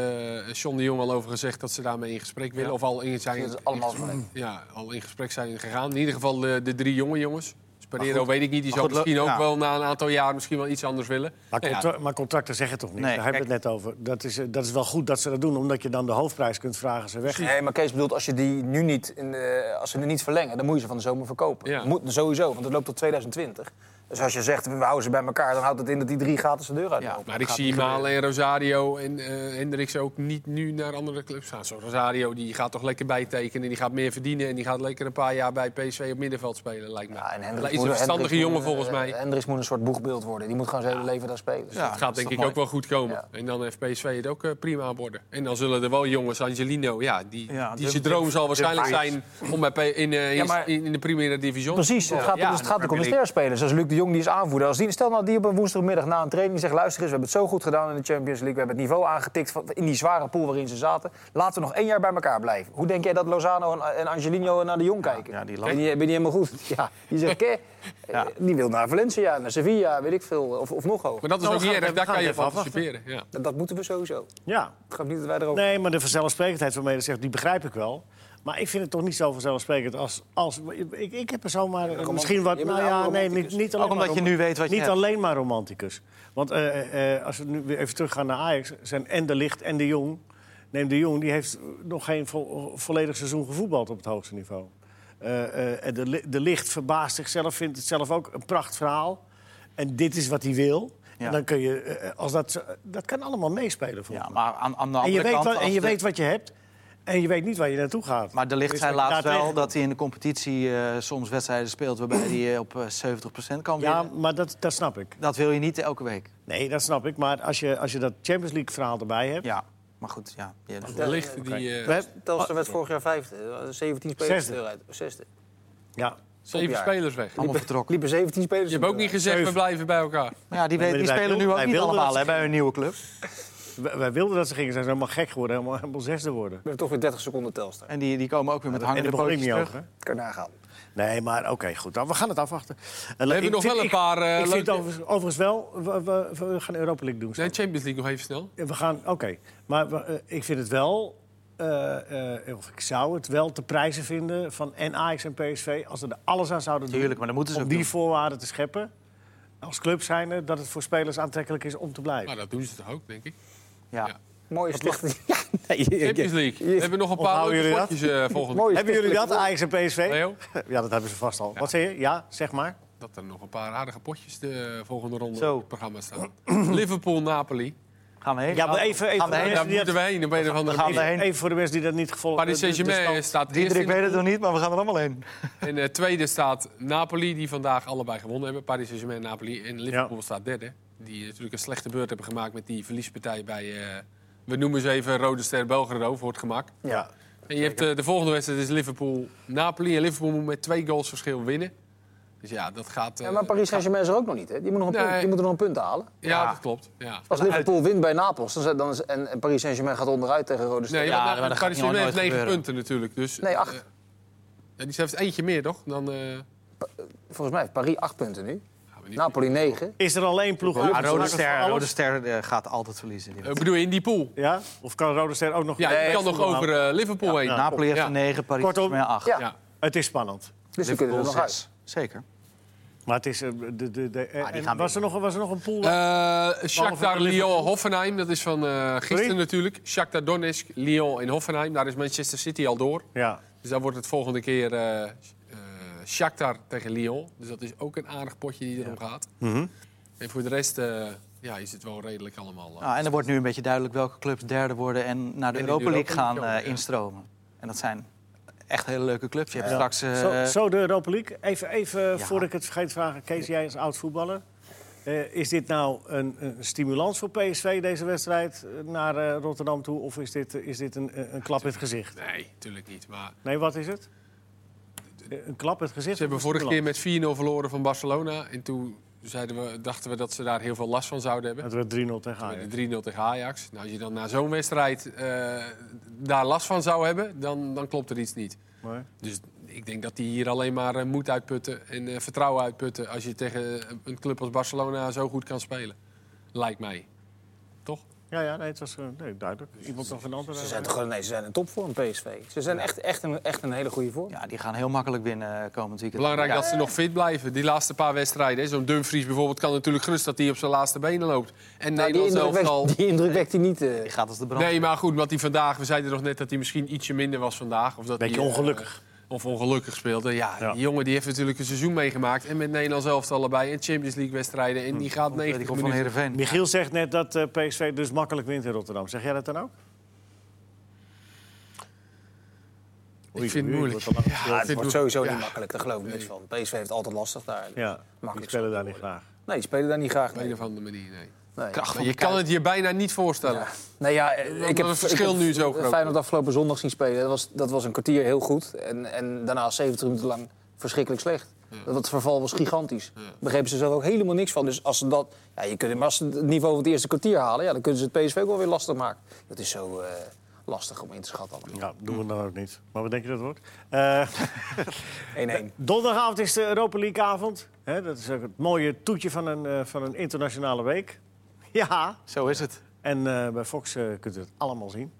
Speaker 2: John de Jong al over gezegd dat ze daarmee in gesprek willen. Of al in, zijn,
Speaker 3: Dat is allemaal van hem.
Speaker 2: ja, al in gesprek zijn gegaan. In ieder geval eh, de, de drie jonge jongens. Dus Pereiro weet ik niet. Die
Speaker 4: Maar
Speaker 2: zou
Speaker 4: goed, lo-
Speaker 2: misschien ook
Speaker 4: ja.
Speaker 2: wel na een aantal jaar misschien wel iets anders willen.
Speaker 1: Maar,
Speaker 2: Nou ja,
Speaker 1: contra- maar contracten zeggen toch niks?
Speaker 4: Nee,
Speaker 1: Daar hebben we het net over. Dat is, eh, dat is wel goed dat ze dat doen, omdat je dan de hoofdprijs kunt vragen als ze weggaan.
Speaker 3: Nee, maar Kees bedoelt, als, je die nu niet in, de- als ze nu niet verlengen... dan moet je ze van de zomer verkopen.
Speaker 2: Ja.
Speaker 3: Moet, sowieso, want het loopt tot 2020. Dus als je zegt, we houden ze bij elkaar, dan houdt het in dat die drie gaten zijn deur uit.
Speaker 4: Ja.
Speaker 2: Maar ik zie Malen en Rosario en eh Hendricks ook niet nu naar andere clubs gaan. Zo Rosario die gaat toch lekker bijtekenen, die gaat meer verdienen... en die gaat lekker een paar jaar bij PSV op middenveld spelen, lijkt me.
Speaker 3: Ja, en
Speaker 2: Hij
Speaker 3: Hendricks
Speaker 2: is
Speaker 3: moet-
Speaker 2: een verstandige
Speaker 3: Hendricks
Speaker 2: jongen
Speaker 3: moet, eh,
Speaker 2: volgens mij.
Speaker 3: Hendricks moet een soort boegbeeld worden. Die moet gewoon zijn hele leven daar spelen. Dus
Speaker 4: Ja.
Speaker 2: Het gaat
Speaker 4: dat is
Speaker 2: denk ik
Speaker 4: toch
Speaker 2: ook wel goed komen.
Speaker 3: Ja.
Speaker 2: En dan heeft PSV het ook eh, prima aan borden. En dan zullen er wel jongens, Angelino, ja, die,
Speaker 4: Ja,
Speaker 2: die
Speaker 4: de-
Speaker 2: zijn droom zal waarschijnlijk
Speaker 3: de-
Speaker 2: zijn om bij P- in, eh,
Speaker 4: Ja, maar-
Speaker 2: in, in de primaire division.
Speaker 3: Precies, het gaat,
Speaker 2: Ja,
Speaker 3: dus het gaat ook om de
Speaker 2: Premier
Speaker 3: sterrenspelers. Zoals Luc de Jong, die is aanvoerder. Als die, stel nou die op een woensdagmiddag na een training zegt... luister eens, we hebben het zo goed gedaan in de Champions League. We hebben het niveau aangetikt van- in die zware pool waarin ze zaten. Laten we nog één jaar bij elkaar blijven. Hoe denk jij dat Lozano en, en Angelino naar de Jong kijken?
Speaker 4: ja, die
Speaker 3: ben, je, ben je helemaal goed? Ja, die zegt, "Ké, eh, die wil naar Valencia, naar Sevilla, weet ik veel. Of, of nog hoger.
Speaker 2: Maar dat is
Speaker 1: Nou,
Speaker 2: ook
Speaker 1: we
Speaker 2: niet
Speaker 1: gaan-
Speaker 2: erg,
Speaker 1: we
Speaker 2: daar
Speaker 1: gaan
Speaker 2: kan je
Speaker 1: het
Speaker 2: van
Speaker 1: even afwachten.
Speaker 2: anticiperen. Ja.
Speaker 3: Dat, dat moeten we sowieso.
Speaker 1: Ja.
Speaker 3: Het gaat niet dat wij erover...
Speaker 1: Nee, maar de vanzelfsprekendheid waarmee je dat zegt, die begrijp ik wel. Maar ik vind het toch niet zo vanzelfsprekend als... als ik, ik heb er zomaar eh, misschien wat...
Speaker 3: je bent
Speaker 1: Nou
Speaker 3: een
Speaker 1: ja,
Speaker 3: oude
Speaker 1: nee, niet,
Speaker 3: romanticus.
Speaker 1: niet alleen
Speaker 4: Ook omdat
Speaker 1: maar
Speaker 4: je
Speaker 1: rom-
Speaker 4: nu weet wat je
Speaker 1: Niet
Speaker 4: hebt.
Speaker 1: alleen maar romanticus. Want eh, eh, eh, als we nu weer even teruggaan naar Ajax... zijn en de Licht en de Jong... Neem de Jong, die heeft nog geen vo- volledig seizoen gevoetbald op het hoogste niveau. Eh, eh, de, Li- de Licht verbaast zichzelf, vindt het zelf ook een pracht verhaal. En dit is wat hij wil.
Speaker 4: Ja.
Speaker 1: En dan kun je, eh, eh, als dat, zo- dat kan allemaal meespelen. voor
Speaker 4: Ja, maar aan, aan de
Speaker 1: en je,
Speaker 4: andere
Speaker 1: weet,
Speaker 4: kant...
Speaker 1: wat, en
Speaker 4: als
Speaker 1: je
Speaker 4: de-
Speaker 1: weet wat je hebt. En je weet niet waar je naartoe gaat.
Speaker 4: Maar de licht
Speaker 1: Dus
Speaker 4: zei
Speaker 1: wat
Speaker 4: laatst
Speaker 1: daar
Speaker 4: wel
Speaker 1: tegen-
Speaker 4: dat hij in de competitie eh, soms wedstrijden speelt... waarbij hij eh, op eh, 70% kan
Speaker 1: Ja,
Speaker 4: winnen.
Speaker 1: maar dat, dat snap ik.
Speaker 4: Dat wil je niet elke week.
Speaker 1: Nee, dat snap ik. Maar als je, als je dat Champions League verhaal erbij hebt...
Speaker 4: Ja, maar goed, ja. ja, dat-
Speaker 2: De lichten die... eh,
Speaker 1: We hebben-
Speaker 3: Telstra werd vorig jaar vijfde. 17 spelers
Speaker 1: Ah. Zesde.
Speaker 3: de deur uit. Zesde.
Speaker 1: ja.
Speaker 2: Zeven
Speaker 3: Topjaar.
Speaker 2: spelers weg.
Speaker 4: Allemaal vertrokken.
Speaker 3: Liepen 17 spelers
Speaker 2: Je
Speaker 3: de
Speaker 2: hebt ook
Speaker 3: deur
Speaker 2: niet gezegd, we
Speaker 1: Zeven.
Speaker 2: blijven bij elkaar.
Speaker 4: Maar ja, die, weet,
Speaker 1: maar
Speaker 4: die
Speaker 1: wij
Speaker 4: spelen nu
Speaker 1: wilden-
Speaker 4: ook
Speaker 1: wij
Speaker 4: niet
Speaker 1: wilden
Speaker 4: allemaal
Speaker 1: dat
Speaker 4: hè,
Speaker 1: ze-
Speaker 4: bij een nieuwe club.
Speaker 1: Wij, wij wilden dat ze gingen. Ze zijn helemaal gek geworden. Helemaal, helemaal zesde worden.
Speaker 3: We hebben toch weer 30 seconden Telstra.
Speaker 4: En die, die komen ook weer met
Speaker 1: en
Speaker 4: hangende
Speaker 1: dat begon ik
Speaker 4: pootjes
Speaker 1: niet
Speaker 4: terug.
Speaker 1: over.
Speaker 3: Kan je nagaan.
Speaker 1: Nee, maar oké, goed. Dan, we gaan het afwachten. We
Speaker 2: hebben nog wel een paar, eh,
Speaker 1: ik vind
Speaker 2: leuke-
Speaker 1: overigens, overigens wel... We, we, we gaan Europa League doen.
Speaker 2: Nee, Champions League nog even snel.
Speaker 1: Ja, We gaan, oké. Maar we- eh, ik vind het wel... eh, eh, of ik zou het wel te prijzen vinden van en Ajax en PSV... als ze er alles aan zouden doen
Speaker 4: Tuurlijk, maar dat moeten ze
Speaker 1: om
Speaker 4: ook
Speaker 1: die
Speaker 4: doen.
Speaker 1: voorwaarden te scheppen... als club zijnde, dat het voor spelers aantrekkelijk is om te blijven.
Speaker 2: Maar dat doen ze toch ook, denk ik.
Speaker 4: Ja.
Speaker 2: Ja.
Speaker 3: Mooie stichting. Ja, nee,
Speaker 2: Champions League. We hebben nog een paar
Speaker 1: Onthouden
Speaker 2: leuke
Speaker 1: jullie dat?
Speaker 2: potjes eh, volgende
Speaker 3: Mooi.
Speaker 1: Hebben jullie dat, Ajax en PSV?
Speaker 2: Leo?
Speaker 1: Ja, dat hebben ze vast al. Wat zei je? Ja, zeg maar.
Speaker 2: Dat er nog een paar aardige potjes de eh, volgende ronde
Speaker 4: Zo.
Speaker 2: op het programma staan. Liverpool-Napoli.
Speaker 4: Gaan we heen?
Speaker 1: Ja, maar even, even,
Speaker 4: Gaan
Speaker 1: voor
Speaker 4: we
Speaker 1: de
Speaker 4: heen?
Speaker 1: mensen
Speaker 2: Daar
Speaker 1: die
Speaker 2: moeten
Speaker 1: dat-
Speaker 2: we heen op een of andere
Speaker 4: gaan we
Speaker 2: manier.
Speaker 4: heen.
Speaker 1: even voor de mensen die dat niet gevolgd
Speaker 2: Paris
Speaker 1: de- de
Speaker 2: Saint-Germain
Speaker 1: stand-
Speaker 2: staat eerst
Speaker 4: Diederik
Speaker 2: in de
Speaker 4: weet het nog niet, maar we gaan er allemaal heen.
Speaker 2: En eh, tweede staat Napoli, die vandaag allebei gewonnen hebben. Paris Saint-Germain en Napoli. En Liverpool staat derde. Die eh, natuurlijk een slechte beurt hebben gemaakt met die verliespartij bij... eh, we noemen ze even Rode Ster Belgrado, voor het gemak.
Speaker 1: Ja.
Speaker 2: En je hebt eh, de volgende wedstrijd is Liverpool-Napoli. En Liverpool moet met twee goals verschil winnen. Dus ja, dat gaat... eh,
Speaker 3: Ja, maar Paris Saint-Germain is er ook nog niet. Hè? Die, moet nog een
Speaker 2: Nee.
Speaker 3: punt, die moeten nog een punt halen.
Speaker 2: Ja, dat klopt. Ja.
Speaker 3: Als Liverpool wint bij Napels dan, zijn- dan is, en, en Paris Saint-Germain gaat onderuit tegen Rode Ster.
Speaker 2: Nee,
Speaker 4: Ja,
Speaker 2: want
Speaker 4: maar dat gaat
Speaker 2: Paris
Speaker 4: niet nooit
Speaker 2: Saint-Germain heeft negen
Speaker 4: gebeuren.
Speaker 2: punten natuurlijk. Dus,
Speaker 3: Nee, acht.
Speaker 2: eh, ja, die heeft eentje meer, toch? Dan eh,
Speaker 3: Volgens mij heeft Paris 8 punten nu.
Speaker 2: gaan we niet.
Speaker 3: Napoli 9.
Speaker 1: Is er alleen ploeg?
Speaker 4: Ja,
Speaker 1: over?
Speaker 4: Ah, Rode
Speaker 1: Maakt het voor
Speaker 4: Ster,
Speaker 1: alles?
Speaker 4: Rode Ster eh, gaat altijd verliezen. die
Speaker 2: Eh, bedoel je in die pool?
Speaker 1: Ja? Of kan Rode Ster ook nog...
Speaker 2: Ja, die kan nog over eh, Liverpool heen.
Speaker 4: wedstrijd. Napoli heeft
Speaker 2: Ja.
Speaker 4: er 9, Paris
Speaker 1: Kortom,
Speaker 4: Saint-Germain 8.
Speaker 3: Ja,
Speaker 2: Ja.
Speaker 1: Het is spannend.
Speaker 3: dus die kunnen er nog uit.
Speaker 4: Zeker.
Speaker 1: Maar het is... eh, de, de, de, eh,
Speaker 4: Ah, die
Speaker 1: en
Speaker 4: gaan
Speaker 1: was, er nog, was er nog een pool?
Speaker 2: Eh
Speaker 1: Behalve
Speaker 2: Shakhtar
Speaker 1: van Liverpool.
Speaker 2: Lyon Hoffenheim, dat is van eh, gisteren
Speaker 1: Sorry?
Speaker 2: natuurlijk. Shakhtar Donetsk, Lyon en Hoffenheim. Daar is Manchester City al door.
Speaker 1: ja.
Speaker 2: Dus daar wordt het volgende keer eh eh, Shakhtar tegen Lyon. Dus dat is ook een aardig potje die erom gaat. En voor de rest eh, ja, is het wel redelijk allemaal. eh,
Speaker 4: Nou, en er wordt nu een beetje duidelijk welke clubs derde worden en naar de
Speaker 2: En in de
Speaker 4: Europa League
Speaker 2: Europa
Speaker 4: gaan
Speaker 2: League ook,
Speaker 4: eh,
Speaker 2: ja.
Speaker 4: instromen. En dat zijn echt hele leuke clubs. Je hebt
Speaker 1: Ja.
Speaker 4: straks eh,
Speaker 1: zo, zo de Europa League. Even, even eh,
Speaker 4: Ja.
Speaker 1: voordat ik het vergeet te vragen. Kees, jij als oud voetballer. eh, is dit nou een, een stimulans voor PSV, deze wedstrijd, eh, naar eh, Rotterdam toe? Of is dit, eh, is dit een, een een klap in het gezicht?
Speaker 2: Nee, natuurlijk niet. Maar
Speaker 1: Nee, wat is het? Eh, Een klap in het gezicht?
Speaker 2: Ze hebben
Speaker 1: of een
Speaker 2: vorige keer
Speaker 1: stimulans?
Speaker 2: met 4-0 verloren van Barcelona. En toen zeiden we, dachten we dat ze daar heel veel last van zouden hebben.
Speaker 1: Het werd 3-0
Speaker 3: Ah,
Speaker 1: tegen Ajax.
Speaker 2: Met de 3-0 tegen Ajax. Nou, als je dan na zo'n wedstrijd eh, daar last van zou hebben, dan, dan klopt er iets niet.
Speaker 1: Maar-
Speaker 2: Dus ik denk dat die hier alleen maar eh, moed uitputten en eh, vertrouwen uitputten. Als je tegen een- een club als Barcelona zo goed kan spelen. Lijkt mij. Toch?
Speaker 1: Ja, ja, nee, het was eh, nee, duidelijk. Iemand nog een ander?
Speaker 3: Ze zijn, toch, nee, ze zijn een topvorm, PSV. Ze zijn echt, echt, een, echt een hele goede vorm.
Speaker 4: ja, die gaan heel makkelijk winnen eh, komend weekend.
Speaker 2: Belangrijk
Speaker 4: Ja.
Speaker 2: dat ze nog fit blijven. Die laatste paar wedstrijden. hè. Zo'n Dumfries bijvoorbeeld kan natuurlijk gerust dat hij op zijn laatste benen loopt. En
Speaker 3: Nou, die,
Speaker 2: Nederland
Speaker 3: indruk
Speaker 2: zelf al.
Speaker 3: wekt, die indruk wekt hij niet. eh.
Speaker 4: Die gaat als de brand.
Speaker 2: Nee, maar goed, want die vandaag, we zeiden nog net dat hij misschien ietsje minder was vandaag. Of dat
Speaker 1: Beetje
Speaker 2: hij, eh,
Speaker 1: ongelukkig.
Speaker 2: Of ongelukkig speelde. Ja,
Speaker 1: Ja.
Speaker 2: die jongen die heeft natuurlijk een seizoen meegemaakt. En met Nederland zelf allebei. En Champions League wedstrijden. En die gaat
Speaker 4: Nee, die
Speaker 2: 90
Speaker 4: komt van
Speaker 2: minuten.
Speaker 4: Heerenveen.
Speaker 1: Michiel zegt net dat eh, PSV dus makkelijk wint in Rotterdam. Zeg jij dat dan ook?
Speaker 2: Ik vind het moeilijk.
Speaker 1: wordt al lang
Speaker 3: Ja,
Speaker 1: gespeeld.
Speaker 3: het
Speaker 2: dit
Speaker 3: wordt
Speaker 2: doe-
Speaker 3: sowieso
Speaker 2: ja.
Speaker 3: niet makkelijk, daar geloof ik niks van. PSV heeft het altijd lastig daar.
Speaker 1: Ja, die
Speaker 3: Makkelijk
Speaker 1: spelen daar niet graag.
Speaker 3: Nee, die spelen daar niet graag
Speaker 2: Op een
Speaker 3: mee.
Speaker 2: of andere manier, nee.
Speaker 3: Nee.
Speaker 4: Kracht van
Speaker 2: Je kan het je bijna niet voorstellen.
Speaker 3: Ja. Nee, ja, eh, ik heb
Speaker 2: het verschil
Speaker 3: ik heb
Speaker 2: nu zo groot
Speaker 3: Feyenoord afgelopen zondag zien spelen. Dat was, dat was een kwartier heel goed. En, en daarna 70 minuten lang verschrikkelijk slecht. Dat het verval was gigantisch. Begrepen ze zelf ook helemaal niks van. Dus als ze dat. Ja, je kunt, maar als ze het niveau van het eerste kwartier halen, ja, dan kunnen ze het PSV ook wel weer lastig maken. Dat is zo eh, lastig om in te schatten. allemaal.
Speaker 1: Ja, doen we dan ook niet. Maar wat denk je dat het wordt? Eh,
Speaker 3: 1-1.
Speaker 1: Donderdagavond is de Europa League avond. Hè, dat is ook het mooie toetje van een, eh, van een internationale week. Ja,
Speaker 4: Zo is het.
Speaker 1: en eh, bij Fox eh, kunt u het allemaal zien.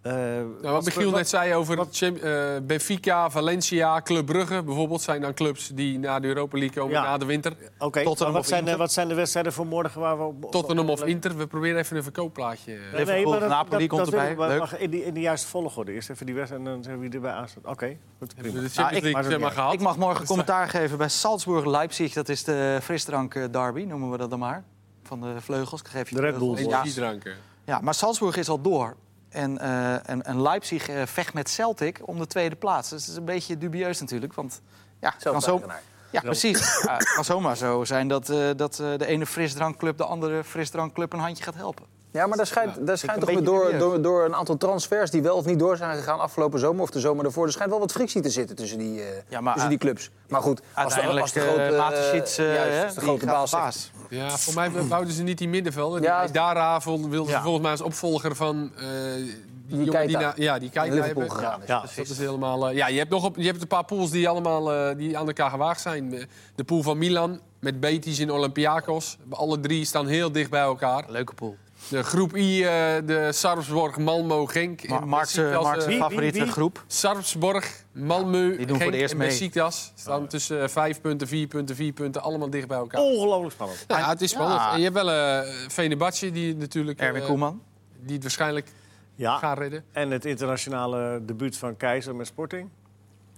Speaker 1: Eh,
Speaker 2: Nou, wat Michiel net zei over Cham- eh, Benfica, Valencia, Club Brugge bijvoorbeeld... zijn dan clubs die naar de Europa League komen
Speaker 1: Ja.
Speaker 2: na de winter.
Speaker 1: Oké, maar
Speaker 4: Tottenham
Speaker 1: wat,
Speaker 4: of
Speaker 1: zijn de-
Speaker 4: Inter?
Speaker 1: wat zijn de wedstrijden voor morgen waar we op... op-
Speaker 2: Tottenham of
Speaker 1: op-
Speaker 2: Inter. We proberen even een verkoopplaatje. eh,
Speaker 1: Nee, nee,
Speaker 4: Liverpool,
Speaker 1: maar dat-
Speaker 4: Napoli
Speaker 1: dat- dat
Speaker 4: komt
Speaker 1: wil
Speaker 4: erbij.
Speaker 1: ik, maar
Speaker 4: Leuk.
Speaker 1: mag in, die, in de juiste volgorde. Eerst even die wedstrijd en dan zeggen we wie erbij aanstaat. Oké, goed,
Speaker 2: Hebben we
Speaker 1: prima.
Speaker 2: de Champions
Speaker 1: ik-
Speaker 2: League zeg maar, gehad.
Speaker 4: Ik mag morgen commentaar geven bij Salzburg-Leipzig. Dat is de frisdrank-derby, noemen we dat dan maar. Van de vleugels. Ik geef je
Speaker 1: De Red Bull.
Speaker 4: vleugels. Ja,
Speaker 2: Energiedranken.
Speaker 4: ja, maar Salzburg is al door. En, eh, en, en Leipzig eh, vecht met Celtic om de tweede plaats. Dus dat is een beetje dubieus natuurlijk. Want ja, het kan,
Speaker 3: Zelf
Speaker 4: zo,
Speaker 3: eigenaar.
Speaker 4: ja, precies. Ja, het Ah, kan zomaar zo zijn dat, eh, dat eh, de ene frisdrankclub de andere frisdrankclub een handje gaat helpen.
Speaker 3: Ja, maar daar schijnt, daar schijnt
Speaker 4: een
Speaker 3: toch weer
Speaker 4: beetje
Speaker 3: door,
Speaker 4: dubieus.
Speaker 3: door, door een aantal transfers die wel of niet door zijn gegaan afgelopen zomer of de zomer daarvoor. Er schijnt wel wat frictie te zitten tussen die, eh,
Speaker 4: Ja, maar,
Speaker 3: tussen die clubs. Maar goed, als de,
Speaker 4: Uiteindelijk
Speaker 3: als de grote,
Speaker 4: eh,
Speaker 3: eh,
Speaker 4: Mateschitz, eh,
Speaker 3: juist,
Speaker 4: hè,
Speaker 3: als de
Speaker 4: die
Speaker 3: grote
Speaker 4: gaat
Speaker 3: baas.
Speaker 4: de
Speaker 3: zegt,
Speaker 2: Ja, voor mij wouden ze niet die middenvelden.
Speaker 3: Ja.
Speaker 2: Ja. Dara vond- wilde ze
Speaker 1: Ja.
Speaker 2: volgens mij als opvolger van... eh, die jongen
Speaker 3: Keita.
Speaker 2: die na- ja, die
Speaker 3: naar
Speaker 2: kijkt
Speaker 3: Liverpool
Speaker 2: hebben.
Speaker 3: gegaan is.
Speaker 1: Ja,
Speaker 2: Dus dat is helemaal, eh, ja, je hebt nog op, je hebt een paar pools die allemaal eh, die aan elkaar gewaagd zijn. Eh, De pool van Milan met Betis en Olympiakos. Alle drie staan heel dicht bij elkaar.
Speaker 4: Leuke pool.
Speaker 2: De groep I, eh, de Sarpsborg, Malmo, Genk.
Speaker 4: Ma
Speaker 2: en
Speaker 4: Mark's, eh,
Speaker 2: Besiktas,
Speaker 4: Mark's
Speaker 2: eh,
Speaker 1: Wie- wie-
Speaker 4: favoriete
Speaker 1: wie?
Speaker 4: groep.
Speaker 2: Sarpsborg, Malmö,
Speaker 4: die doen voor
Speaker 2: Genk
Speaker 4: de eerst
Speaker 2: en
Speaker 4: mee.
Speaker 2: Besiktas staan tussen eh, vijf punten, vier punten, vier punten. Allemaal dicht bij elkaar.
Speaker 1: Ongelooflijk spannend.
Speaker 2: Nou, ja, het is spannend.
Speaker 4: Ja.
Speaker 2: En je hebt wel eh Venebatje, die natuurlijk...
Speaker 4: Erwin
Speaker 2: eh,
Speaker 4: Koeman.
Speaker 2: Die het waarschijnlijk
Speaker 1: Ja,
Speaker 2: gaat redden.
Speaker 1: en het internationale debuut van Keizer met Sporting.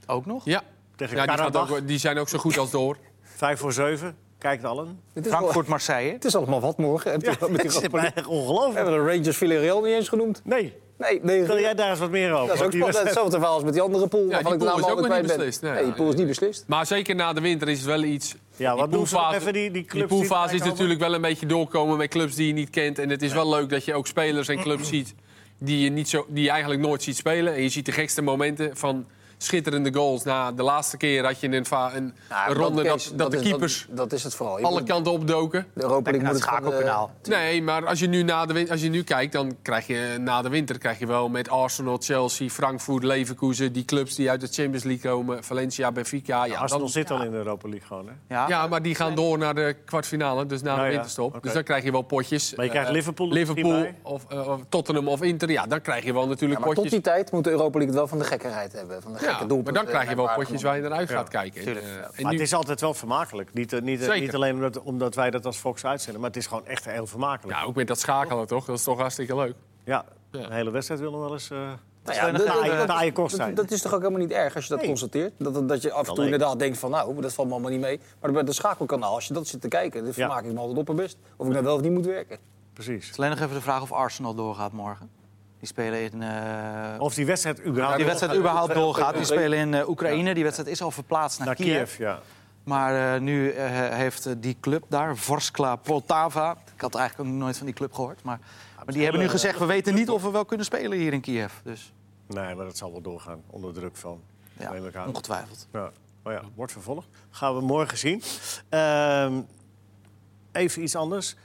Speaker 4: Ook nog.
Speaker 2: Ja,
Speaker 1: Tegen
Speaker 2: ja die, gaat
Speaker 1: Karabach,
Speaker 2: ook, die zijn ook zo goed als door.
Speaker 1: vijf voor zeven. Kijkt allen.
Speaker 3: Het is, wel-
Speaker 4: Frankfurt-Marseille.
Speaker 3: het is allemaal wat morgen.
Speaker 1: Ja, het is mij echt
Speaker 3: We
Speaker 1: ongelooflijk.
Speaker 3: hebben de Rangers Villarreal niet eens genoemd.
Speaker 1: Nee,
Speaker 3: Nee, nee
Speaker 1: wil jij daar eens wat meer over?
Speaker 3: dat is ook
Speaker 1: Want die
Speaker 3: spannend.
Speaker 1: wedstrijd-
Speaker 3: Hetzelfde verhaal als met die andere pool. waarvan
Speaker 2: die
Speaker 3: ik de
Speaker 2: pool
Speaker 3: naam
Speaker 2: is ook
Speaker 3: altijd
Speaker 2: nog niet
Speaker 3: kwijt ben.
Speaker 2: beslist. Nee,
Speaker 3: Nee, die pool is niet beslist.
Speaker 2: Maar zeker na de winter is het wel iets.
Speaker 1: Ja, wat
Speaker 2: die
Speaker 1: doen ze nog
Speaker 2: poolfase-
Speaker 1: even die, die
Speaker 2: Die
Speaker 1: clubs
Speaker 2: poolfase
Speaker 1: die
Speaker 2: is
Speaker 1: erbij komen?
Speaker 2: natuurlijk wel een beetje doorkomen met clubs die je niet kent. En het is wel leuk dat je ook spelers en clubs ziet die je, niet zo, die je eigenlijk nooit ziet spelen. En je ziet de gekste momenten van schitterende goals. Na de laatste keer had je een, va- een
Speaker 3: Nou,
Speaker 2: een ronde dat,
Speaker 3: Kees,
Speaker 2: dat de
Speaker 3: is-
Speaker 2: keepers
Speaker 3: Dat is het vooral. Je
Speaker 2: alle
Speaker 3: moet-
Speaker 2: kanten opdoken.
Speaker 3: De Europa League
Speaker 4: Kijk naar
Speaker 3: moet
Speaker 4: het
Speaker 3: het van, eh,
Speaker 4: schakelkanaal.
Speaker 2: Nee, maar als je, nu na de, win- als je nu kijkt, dan krijg je na de winter krijg je wel met Arsenal, Chelsea, Frankfurt, Leverkusen, die clubs die uit de Champions League komen, Valencia, Benfica. Ja,
Speaker 1: Arsenal
Speaker 2: dan-
Speaker 1: zit al in de Europa League gewoon, hè?
Speaker 4: Ja.
Speaker 2: Ja, maar die gaan door naar de kwartfinale, dus na
Speaker 1: Nou
Speaker 2: de
Speaker 1: ja,
Speaker 2: winterstop.
Speaker 1: oké.
Speaker 2: Dus dan krijg je wel potjes.
Speaker 1: Maar je krijgt
Speaker 2: Eh,
Speaker 1: Liverpool er
Speaker 2: Liverpool
Speaker 1: misschien
Speaker 2: of, eh, of Tottenham of Inter. Ja, dan krijg je wel
Speaker 3: Ja,
Speaker 2: natuurlijk
Speaker 3: maar tot
Speaker 2: potjes.
Speaker 3: die tijd moet de Europa League het wel van de gekkerheid hebben. Van de gekke eh,
Speaker 2: ja,
Speaker 3: doelpunten.
Speaker 2: maar dan krijg je wel
Speaker 3: en
Speaker 2: potjes waar je naar uit
Speaker 1: Ja,
Speaker 2: gaat kijken.
Speaker 4: tuurlijk.
Speaker 2: Eh,
Speaker 4: Ja.
Speaker 2: en
Speaker 1: maar
Speaker 2: nu-
Speaker 1: het is altijd wel vermakelijk. Niet, eh, niet, eh,
Speaker 2: Zeker.
Speaker 1: niet alleen omdat, omdat wij dat als Fox uitzenden, maar het is gewoon echt heel vermakelijk.
Speaker 2: ja, ook met dat schakelen toch? Dat is toch hartstikke leuk.
Speaker 1: Ja,
Speaker 2: Ja.
Speaker 1: een hele wedstrijd wil nog wel eens... eh,
Speaker 3: Nou
Speaker 4: Dat
Speaker 3: dat-
Speaker 4: is wel een
Speaker 3: dat-
Speaker 1: taaie-
Speaker 3: dat-
Speaker 1: taaie kost zijn.
Speaker 3: Dat, dat is toch ook helemaal niet erg als je dat
Speaker 1: Nee.
Speaker 3: constateert? Dat, dat, dat je af en
Speaker 1: Wel
Speaker 3: toe
Speaker 1: nee.
Speaker 3: inderdaad denkt van nou, dat valt me allemaal niet mee. Maar bij de schakelkanaal, als je dat zit te kijken, dan
Speaker 1: Ja.
Speaker 3: vermaak ik me altijd op mijn best. Of ik nou wel of niet moet werken.
Speaker 1: Precies.
Speaker 4: Het is alleen nog even de vraag of Arsenal doorgaat morgen. Die spelen in. eh,
Speaker 1: Of die wedstrijd überhaupt...
Speaker 4: die wedstrijd überhaupt doorgaat. Die spelen in eh, Oekraïne. Die wedstrijd is al verplaatst naar,
Speaker 1: naar Kiev, ja.
Speaker 4: Maar eh, nu eh, heeft eh, die club daar, Vorskla Poltava. Ik had eigenlijk ook nog nooit van die club gehoord. Maar, maar die hebben nu gezegd: we weten niet of we wel kunnen spelen hier in Kiev. Dus
Speaker 1: Nee, maar dat zal wel doorgaan, onder druk van.
Speaker 4: ja,
Speaker 1: neem ik aan.
Speaker 4: ongetwijfeld.
Speaker 1: Ja, maar ja, wordt vervolgd. Gaan we morgen zien. Ehm, even iets anders.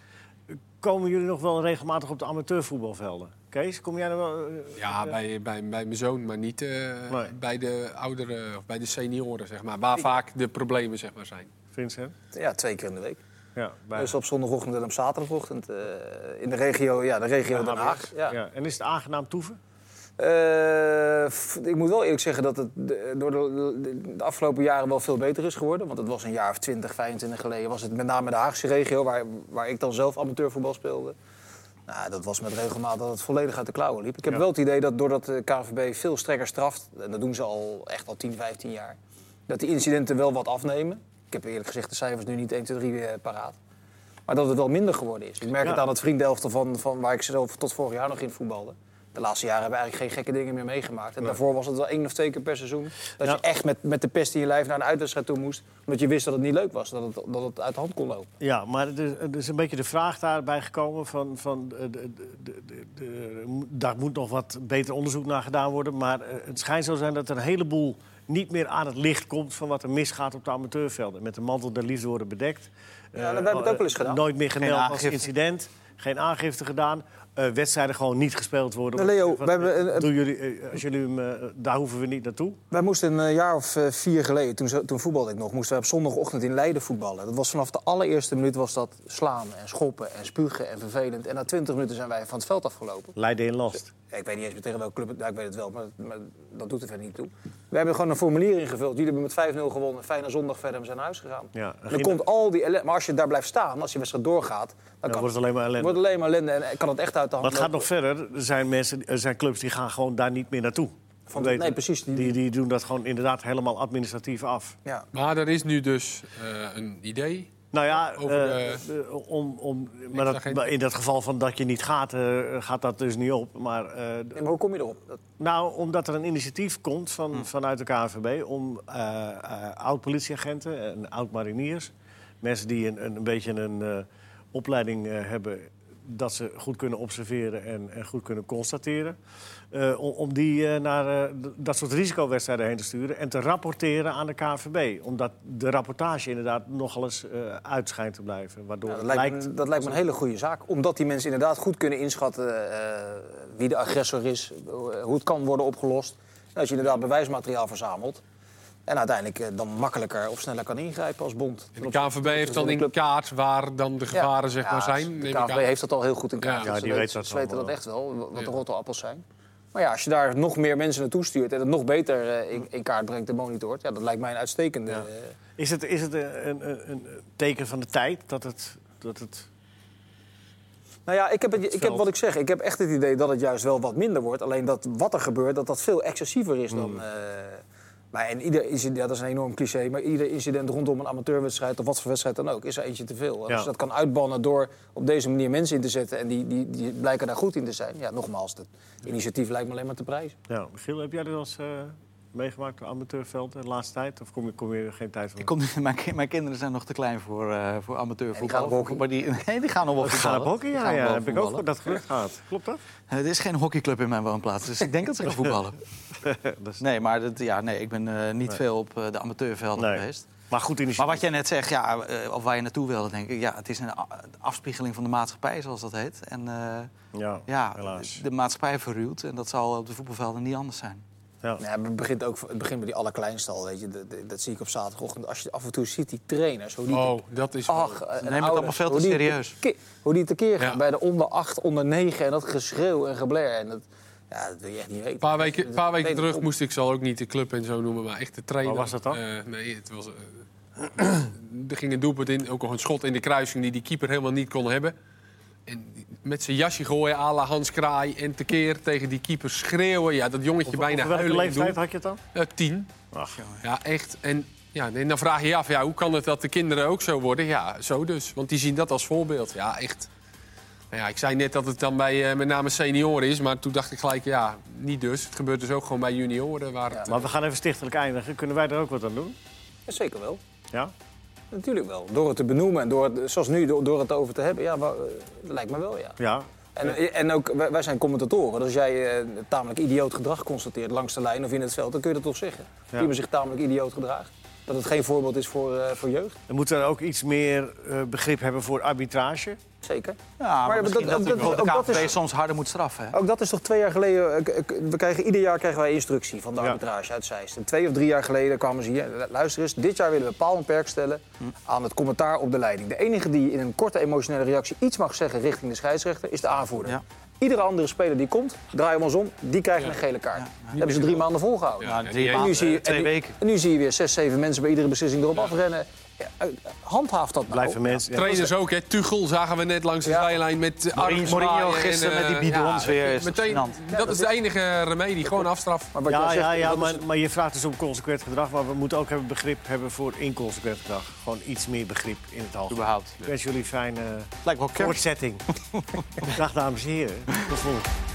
Speaker 1: Komen jullie nog wel regelmatig op de amateurvoetbalvelden? Kees, kom jij er wel... eh,
Speaker 2: Ja, bij, bij, bij mijn zoon, maar niet eh,
Speaker 1: Nee.
Speaker 2: bij de ouderen of bij de senioren, zeg maar. Waar vaak de problemen zeg maar, zijn.
Speaker 1: Vincent?
Speaker 3: Ja, twee keer in de week.
Speaker 1: Ja, bij...
Speaker 3: Dus op zondagochtend en op zaterdagochtend. eh, in de regio, ja, de regio Den Haag. Ja.
Speaker 1: Ja. En is het aangenaam toeven?
Speaker 3: Eh, f- ik moet wel eerlijk zeggen dat het de- door de, de- de afgelopen jaren wel veel beter is geworden. Want het was een jaar of 20, 25 geleden was het met name de Haagse regio, waar, waar ik dan zelf amateurvoetbal speelde. Nou, dat was met regelmaat dat het volledig uit de klauwen liep. Ik heb wel het idee dat doordat de KNVB veel strekker straft... en dat doen ze al echt al 10, 15 jaar... dat die incidenten wel wat afnemen. Ik heb eerlijk gezegd de cijfers nu niet 1, 2, 3 eh, paraat. Maar dat het wel minder geworden is. Ik merk
Speaker 1: Ja.
Speaker 3: het aan het vriendenelftal van, van waar ik zelf tot vorig jaar nog in voetbalde. De laatste jaren hebben we eigenlijk geen gekke dingen meer meegemaakt. En daarvoor was het wel één of twee keer per seizoen. Dat
Speaker 1: Ja.
Speaker 3: je echt met, met de pest in je lijf naar een uitwedstrijd toe moest. Omdat je wist dat het niet leuk was. Dat het, dat het uit de hand kon lopen.
Speaker 1: Ja, maar er is, er is een beetje de vraag daarbij gekomen van... van eh, de, de, de- de- de- daar moet nog wat beter onderzoek naar gedaan worden. Maar eh, het schijnt zo zijn dat er een heleboel niet meer aan het licht komt... van wat er misgaat op de amateurvelden. Met de mantel der liefde worden bedekt.
Speaker 3: Ja, dat hebben we het ook wel eens
Speaker 1: Eh,
Speaker 3: gedaan.
Speaker 1: Nooit meer gemeld als
Speaker 4: aangifte.
Speaker 1: incident. Geen aangifte gedaan. Eh, wedstrijden gewoon niet gespeeld worden.
Speaker 3: Nou, Leo,
Speaker 1: Wat-
Speaker 3: we hebben een- een-
Speaker 1: doen jullie, eh, als jullie hem, eh, daar hoeven we niet naartoe.
Speaker 3: Wij moesten een eh, jaar of eh, vier geleden, toen, zo- toen voetbalde ik nog, moesten wij op zondagochtend in Leiden voetballen. Dat was vanaf de allereerste minuut was dat slaan en schoppen en spugen en vervelend. En na twintig minuten zijn wij van het veld afgelopen.
Speaker 1: Leiden in last.
Speaker 3: Ja, Ik weet niet eens meer tegen welke club, het- nou, ik weet het wel, maar, maar dat doet er verder niet toe. We hebben gewoon een formulier ingevuld. Jullie hebben met 5-0 gewonnen, fijne zondag verder, we zijn naar huis gegaan.
Speaker 1: Ja,
Speaker 3: En dan
Speaker 1: ging-
Speaker 3: komt al die ellende, maar als je daar blijft staan, als je wedstrijd doorgaat, dan, kan
Speaker 1: wordt het alleen maar ellende.
Speaker 3: Wordt alleen maar ellende en eh, kan het echt uit de hand
Speaker 1: Maar het gaat
Speaker 3: lopen.
Speaker 1: nog verder. Er zijn, mensen, er zijn clubs die gaan gewoon daar niet meer naartoe.
Speaker 3: Van-
Speaker 1: Weet-
Speaker 3: nee, precies, die-
Speaker 1: Die, die, doen dat gewoon inderdaad helemaal administratief af.
Speaker 3: Ja.
Speaker 2: Maar er is nu dus eh, een idee.
Speaker 1: Nou ja,
Speaker 2: Over
Speaker 1: eh,
Speaker 2: de-
Speaker 1: eh, om, om, maar dat,
Speaker 2: agenda.
Speaker 1: maar in dat geval van dat je niet gaat, eh, gaat dat dus niet op. Maar, eh, d-
Speaker 3: Nee, maar hoe kom je erop? Dat-
Speaker 1: nou, omdat er een initiatief komt van,
Speaker 3: Hmm.
Speaker 1: vanuit de KNVB... om eh, eh, oud-politieagenten en oud-mariniers... mensen die een, een, een beetje een eh, opleiding eh, hebben... dat ze goed kunnen observeren en, en goed kunnen constateren... eh, om, om die eh, naar eh, d- dat soort risicowedstrijden heen te sturen... en te rapporteren aan de KNVB. Omdat de rapportage inderdaad nogal eens eh, uit schijnt te blijven. Waardoor
Speaker 3: Ja, dat,
Speaker 1: het
Speaker 3: lijkt
Speaker 1: lijkt...
Speaker 3: me, dat lijkt me een hele goede zaak. Omdat die mensen inderdaad goed kunnen inschatten eh, wie de agressor is, eh, hoe het kan worden opgelost. En als je inderdaad bewijsmateriaal verzamelt. En uiteindelijk eh, dan makkelijker of sneller kan ingrijpen als bond.
Speaker 2: En de KNVB heeft dan in
Speaker 3: Club.
Speaker 2: kaart waar dan de gevaren zeg maar, zijn.
Speaker 3: De
Speaker 2: neem ik aan.
Speaker 3: KNVB heeft dat al heel goed in kaart.
Speaker 2: Ja.
Speaker 3: dus
Speaker 1: Ja,
Speaker 3: ze
Speaker 1: die
Speaker 3: weten-
Speaker 1: weet dat
Speaker 3: Ze weten
Speaker 1: allemaal
Speaker 3: dat echt wel, wat de
Speaker 2: Ja.
Speaker 3: rotte appels zijn. Maar ja, als je daar nog meer mensen naartoe stuurt en het nog beter eh, in, in kaart brengt en monitort... Ja, dat lijkt mij een uitstekende... eh,
Speaker 1: Is het, is het een, een, een teken van de tijd dat het... Dat het
Speaker 3: Nou ja, ik heb, het, ik heb
Speaker 1: veld.
Speaker 3: wat ik zeg. Ik heb echt het idee dat het juist wel wat minder wordt. Alleen dat wat er gebeurt, dat dat veel excessiever is dan. eh, maar en ieder incident, ja, dat is een enorm cliché, maar ieder incident rondom een amateurwedstrijd of wat voor wedstrijd dan ook, is er eentje te veel. En
Speaker 1: Ja.
Speaker 3: Als je dat kan uitbannen door op deze manier mensen in te zetten en die, die, die blijken daar goed in te zijn. Ja, nogmaals, dat initiatief lijkt me alleen maar te prijzen.
Speaker 1: Ja, Nou, Michiel, heb jij dat als eh, meegemaakt op amateurveld de laatste tijd? Of kom je, kom je geen tijd van?
Speaker 4: Ik kom, mijn, ki- mijn kinderen zijn nog te klein voor, eh voor
Speaker 3: die gaan
Speaker 4: amateurvoetbal.
Speaker 3: op hockey.
Speaker 4: maar die, nee, die gaan nog wel
Speaker 1: We gaan
Speaker 4: voetballen.
Speaker 1: op hockey,
Speaker 4: Die
Speaker 1: ja.
Speaker 4: gaan
Speaker 1: ja.
Speaker 4: wel
Speaker 1: Heb ik ook
Speaker 4: voetballen.
Speaker 1: gehoord dat het gerucht gaat. Klopt dat?
Speaker 4: Eh, Er is geen hockeyclub in mijn woonplaats, dus ik denk dat ze gaan voetballen.
Speaker 1: Dat is-
Speaker 4: Nee, maar dat, ja, nee, ik ben eh, niet veel op eh, de amateurvelden
Speaker 1: Nee.
Speaker 4: geweest.
Speaker 1: Maar goed
Speaker 4: Maar
Speaker 1: initiatief.
Speaker 4: wat jij net zegt, ja, eh, of waar je naartoe wilde, denk ik. Ja, het is een a- afspiegeling van de maatschappij, zoals dat heet. En eh,
Speaker 1: Ja,
Speaker 4: ja, dus-
Speaker 1: helaas.
Speaker 4: de maatschappij verruwt. En dat zal op de voetbalvelden niet anders zijn.
Speaker 1: Ja.
Speaker 3: Nou, ja, het, begint ook, het begint bij die allerkleinste al, weet je. Dat, dat zie ik op zaterdagochtend. Als je af en toe ziet die trainers, hoe die
Speaker 2: Oh, dat is...
Speaker 3: Ach, en
Speaker 4: nemen het
Speaker 3: ouders,
Speaker 4: allemaal veel te
Speaker 3: hoe die
Speaker 4: serieus.
Speaker 3: te- hoe die tekeer gaan
Speaker 2: Ja.
Speaker 3: bij de onder 8, onder 9 en dat geschreeuw en gebler. En dat, ja, dat wil je echt niet weten.
Speaker 2: Een paar weken, paar weken
Speaker 3: Nee,
Speaker 2: terug
Speaker 3: dat-
Speaker 2: moest ik, zal ook niet de club en zo noemen, maar echt de trainer.
Speaker 1: Waar was dat dan?
Speaker 2: Eh, nee, het was... eh, er ging een doelpunt in, ook nog een schot in de kruising die die keeper helemaal niet kon hebben. En die- met zijn jasje gooien à la Hans Kraai en tekeer tegen die keeper schreeuwen. Ja, dat jongetje
Speaker 1: Op-
Speaker 2: bijna
Speaker 1: op welke
Speaker 2: huilen in het
Speaker 1: leeftijd
Speaker 2: doel.
Speaker 1: had je het dan?
Speaker 2: Eh, tien.
Speaker 1: Ach,
Speaker 2: Ja, echt. En, ja, en dan vraag je je af, ja, hoe kan het dat de kinderen ook zo worden? Ja, zo dus. Want die zien dat als voorbeeld. Ja, echt. Nou ja, ik zei net dat het dan bij eh, met name senioren is. Maar toen dacht ik gelijk, ja, niet dus. Het gebeurt dus ook gewoon bij junioren. Waar het,
Speaker 1: maar we gaan even stichtelijk eindigen. Kunnen wij er ook wat aan doen?
Speaker 3: Ja, zeker wel.
Speaker 1: Ja?
Speaker 3: Natuurlijk wel. Door het te benoemen en door het, zoals nu, door, door het over te hebben. Ja, wa- eh, lijkt me wel, ja.
Speaker 1: Ja.
Speaker 3: En, eh, en ook, wij, wij zijn commentatoren. Dus als jij eh, tamelijk idioot gedrag constateert langs de lijn of in het veld, dan kun je dat toch zeggen.
Speaker 1: Ja.
Speaker 3: Die men zich tamelijk idioot gedraagt. Dat het geen voorbeeld is voor, eh, voor jeugd.
Speaker 1: Dan moeten we ook iets meer eh, begrip hebben voor arbitrage.
Speaker 3: Zeker.
Speaker 4: Ja, maar,
Speaker 3: dat-
Speaker 4: misschien
Speaker 3: dat-
Speaker 4: dat,
Speaker 3: dat-
Speaker 4: bijvoorbeeld
Speaker 3: ook
Speaker 4: de
Speaker 3: dat
Speaker 4: KNVB
Speaker 3: is-
Speaker 4: soms harder moet straffen. Hè?
Speaker 3: Ook dat is toch twee jaar geleden. eh, k- k- We krijgen, ieder jaar krijgen wij instructie van de
Speaker 1: Ja.
Speaker 3: arbitrage uit Zeist. En twee of drie jaar geleden kwamen ze hier. "Lu- Luister eens, dit jaar willen we paal en perk stellen aan het commentaar op de leiding. De enige die in een korte emotionele reactie iets mag zeggen richting de scheidsrechter is de aanvoerder.
Speaker 4: Ja.
Speaker 3: Iedere andere speler die komt, draai hem ons om, die krijgt een gele kaart. Hebben ze drie maanden volgehouden.
Speaker 2: Ja,
Speaker 4: Nou,
Speaker 2: die
Speaker 4: drie
Speaker 2: heeft-
Speaker 3: En nu,
Speaker 4: maanden,
Speaker 3: zie je,
Speaker 4: twee
Speaker 3: en nu-
Speaker 4: weken.
Speaker 3: en nu zie je weer zes, zeven mensen bij iedere beslissing erop afrennen. eh, handhaaft dat nou?
Speaker 4: Oh,
Speaker 1: Blijven mensen. ja.
Speaker 2: Trainers ook, hè? Tuchel zagen we net langs de
Speaker 3: Ja.
Speaker 2: zijlijn met eh,
Speaker 4: Mourinho-
Speaker 2: armen zwaaien
Speaker 4: Mourinho gisteren met die
Speaker 2: eh,
Speaker 4: bidons weer, is
Speaker 2: meteen,
Speaker 4: toch gênant.
Speaker 2: dat is de enige remedie, gewoon afstraf.
Speaker 3: Maar wat jij
Speaker 1: Ja,
Speaker 3: zegt,
Speaker 1: ja, ja
Speaker 3: dat is-
Speaker 1: maar, maar je vraagt dus om consequent gedrag. Maar we moeten ook hebben begrip hebben voor inconsequent gedrag. Gewoon iets meer begrip in het algemeen.
Speaker 4: Überhaupt.
Speaker 1: Ik wens jullie fijne
Speaker 4: Lijkt wel kerst.
Speaker 1: voortzetting. Dag dames en heren. Tot volgende.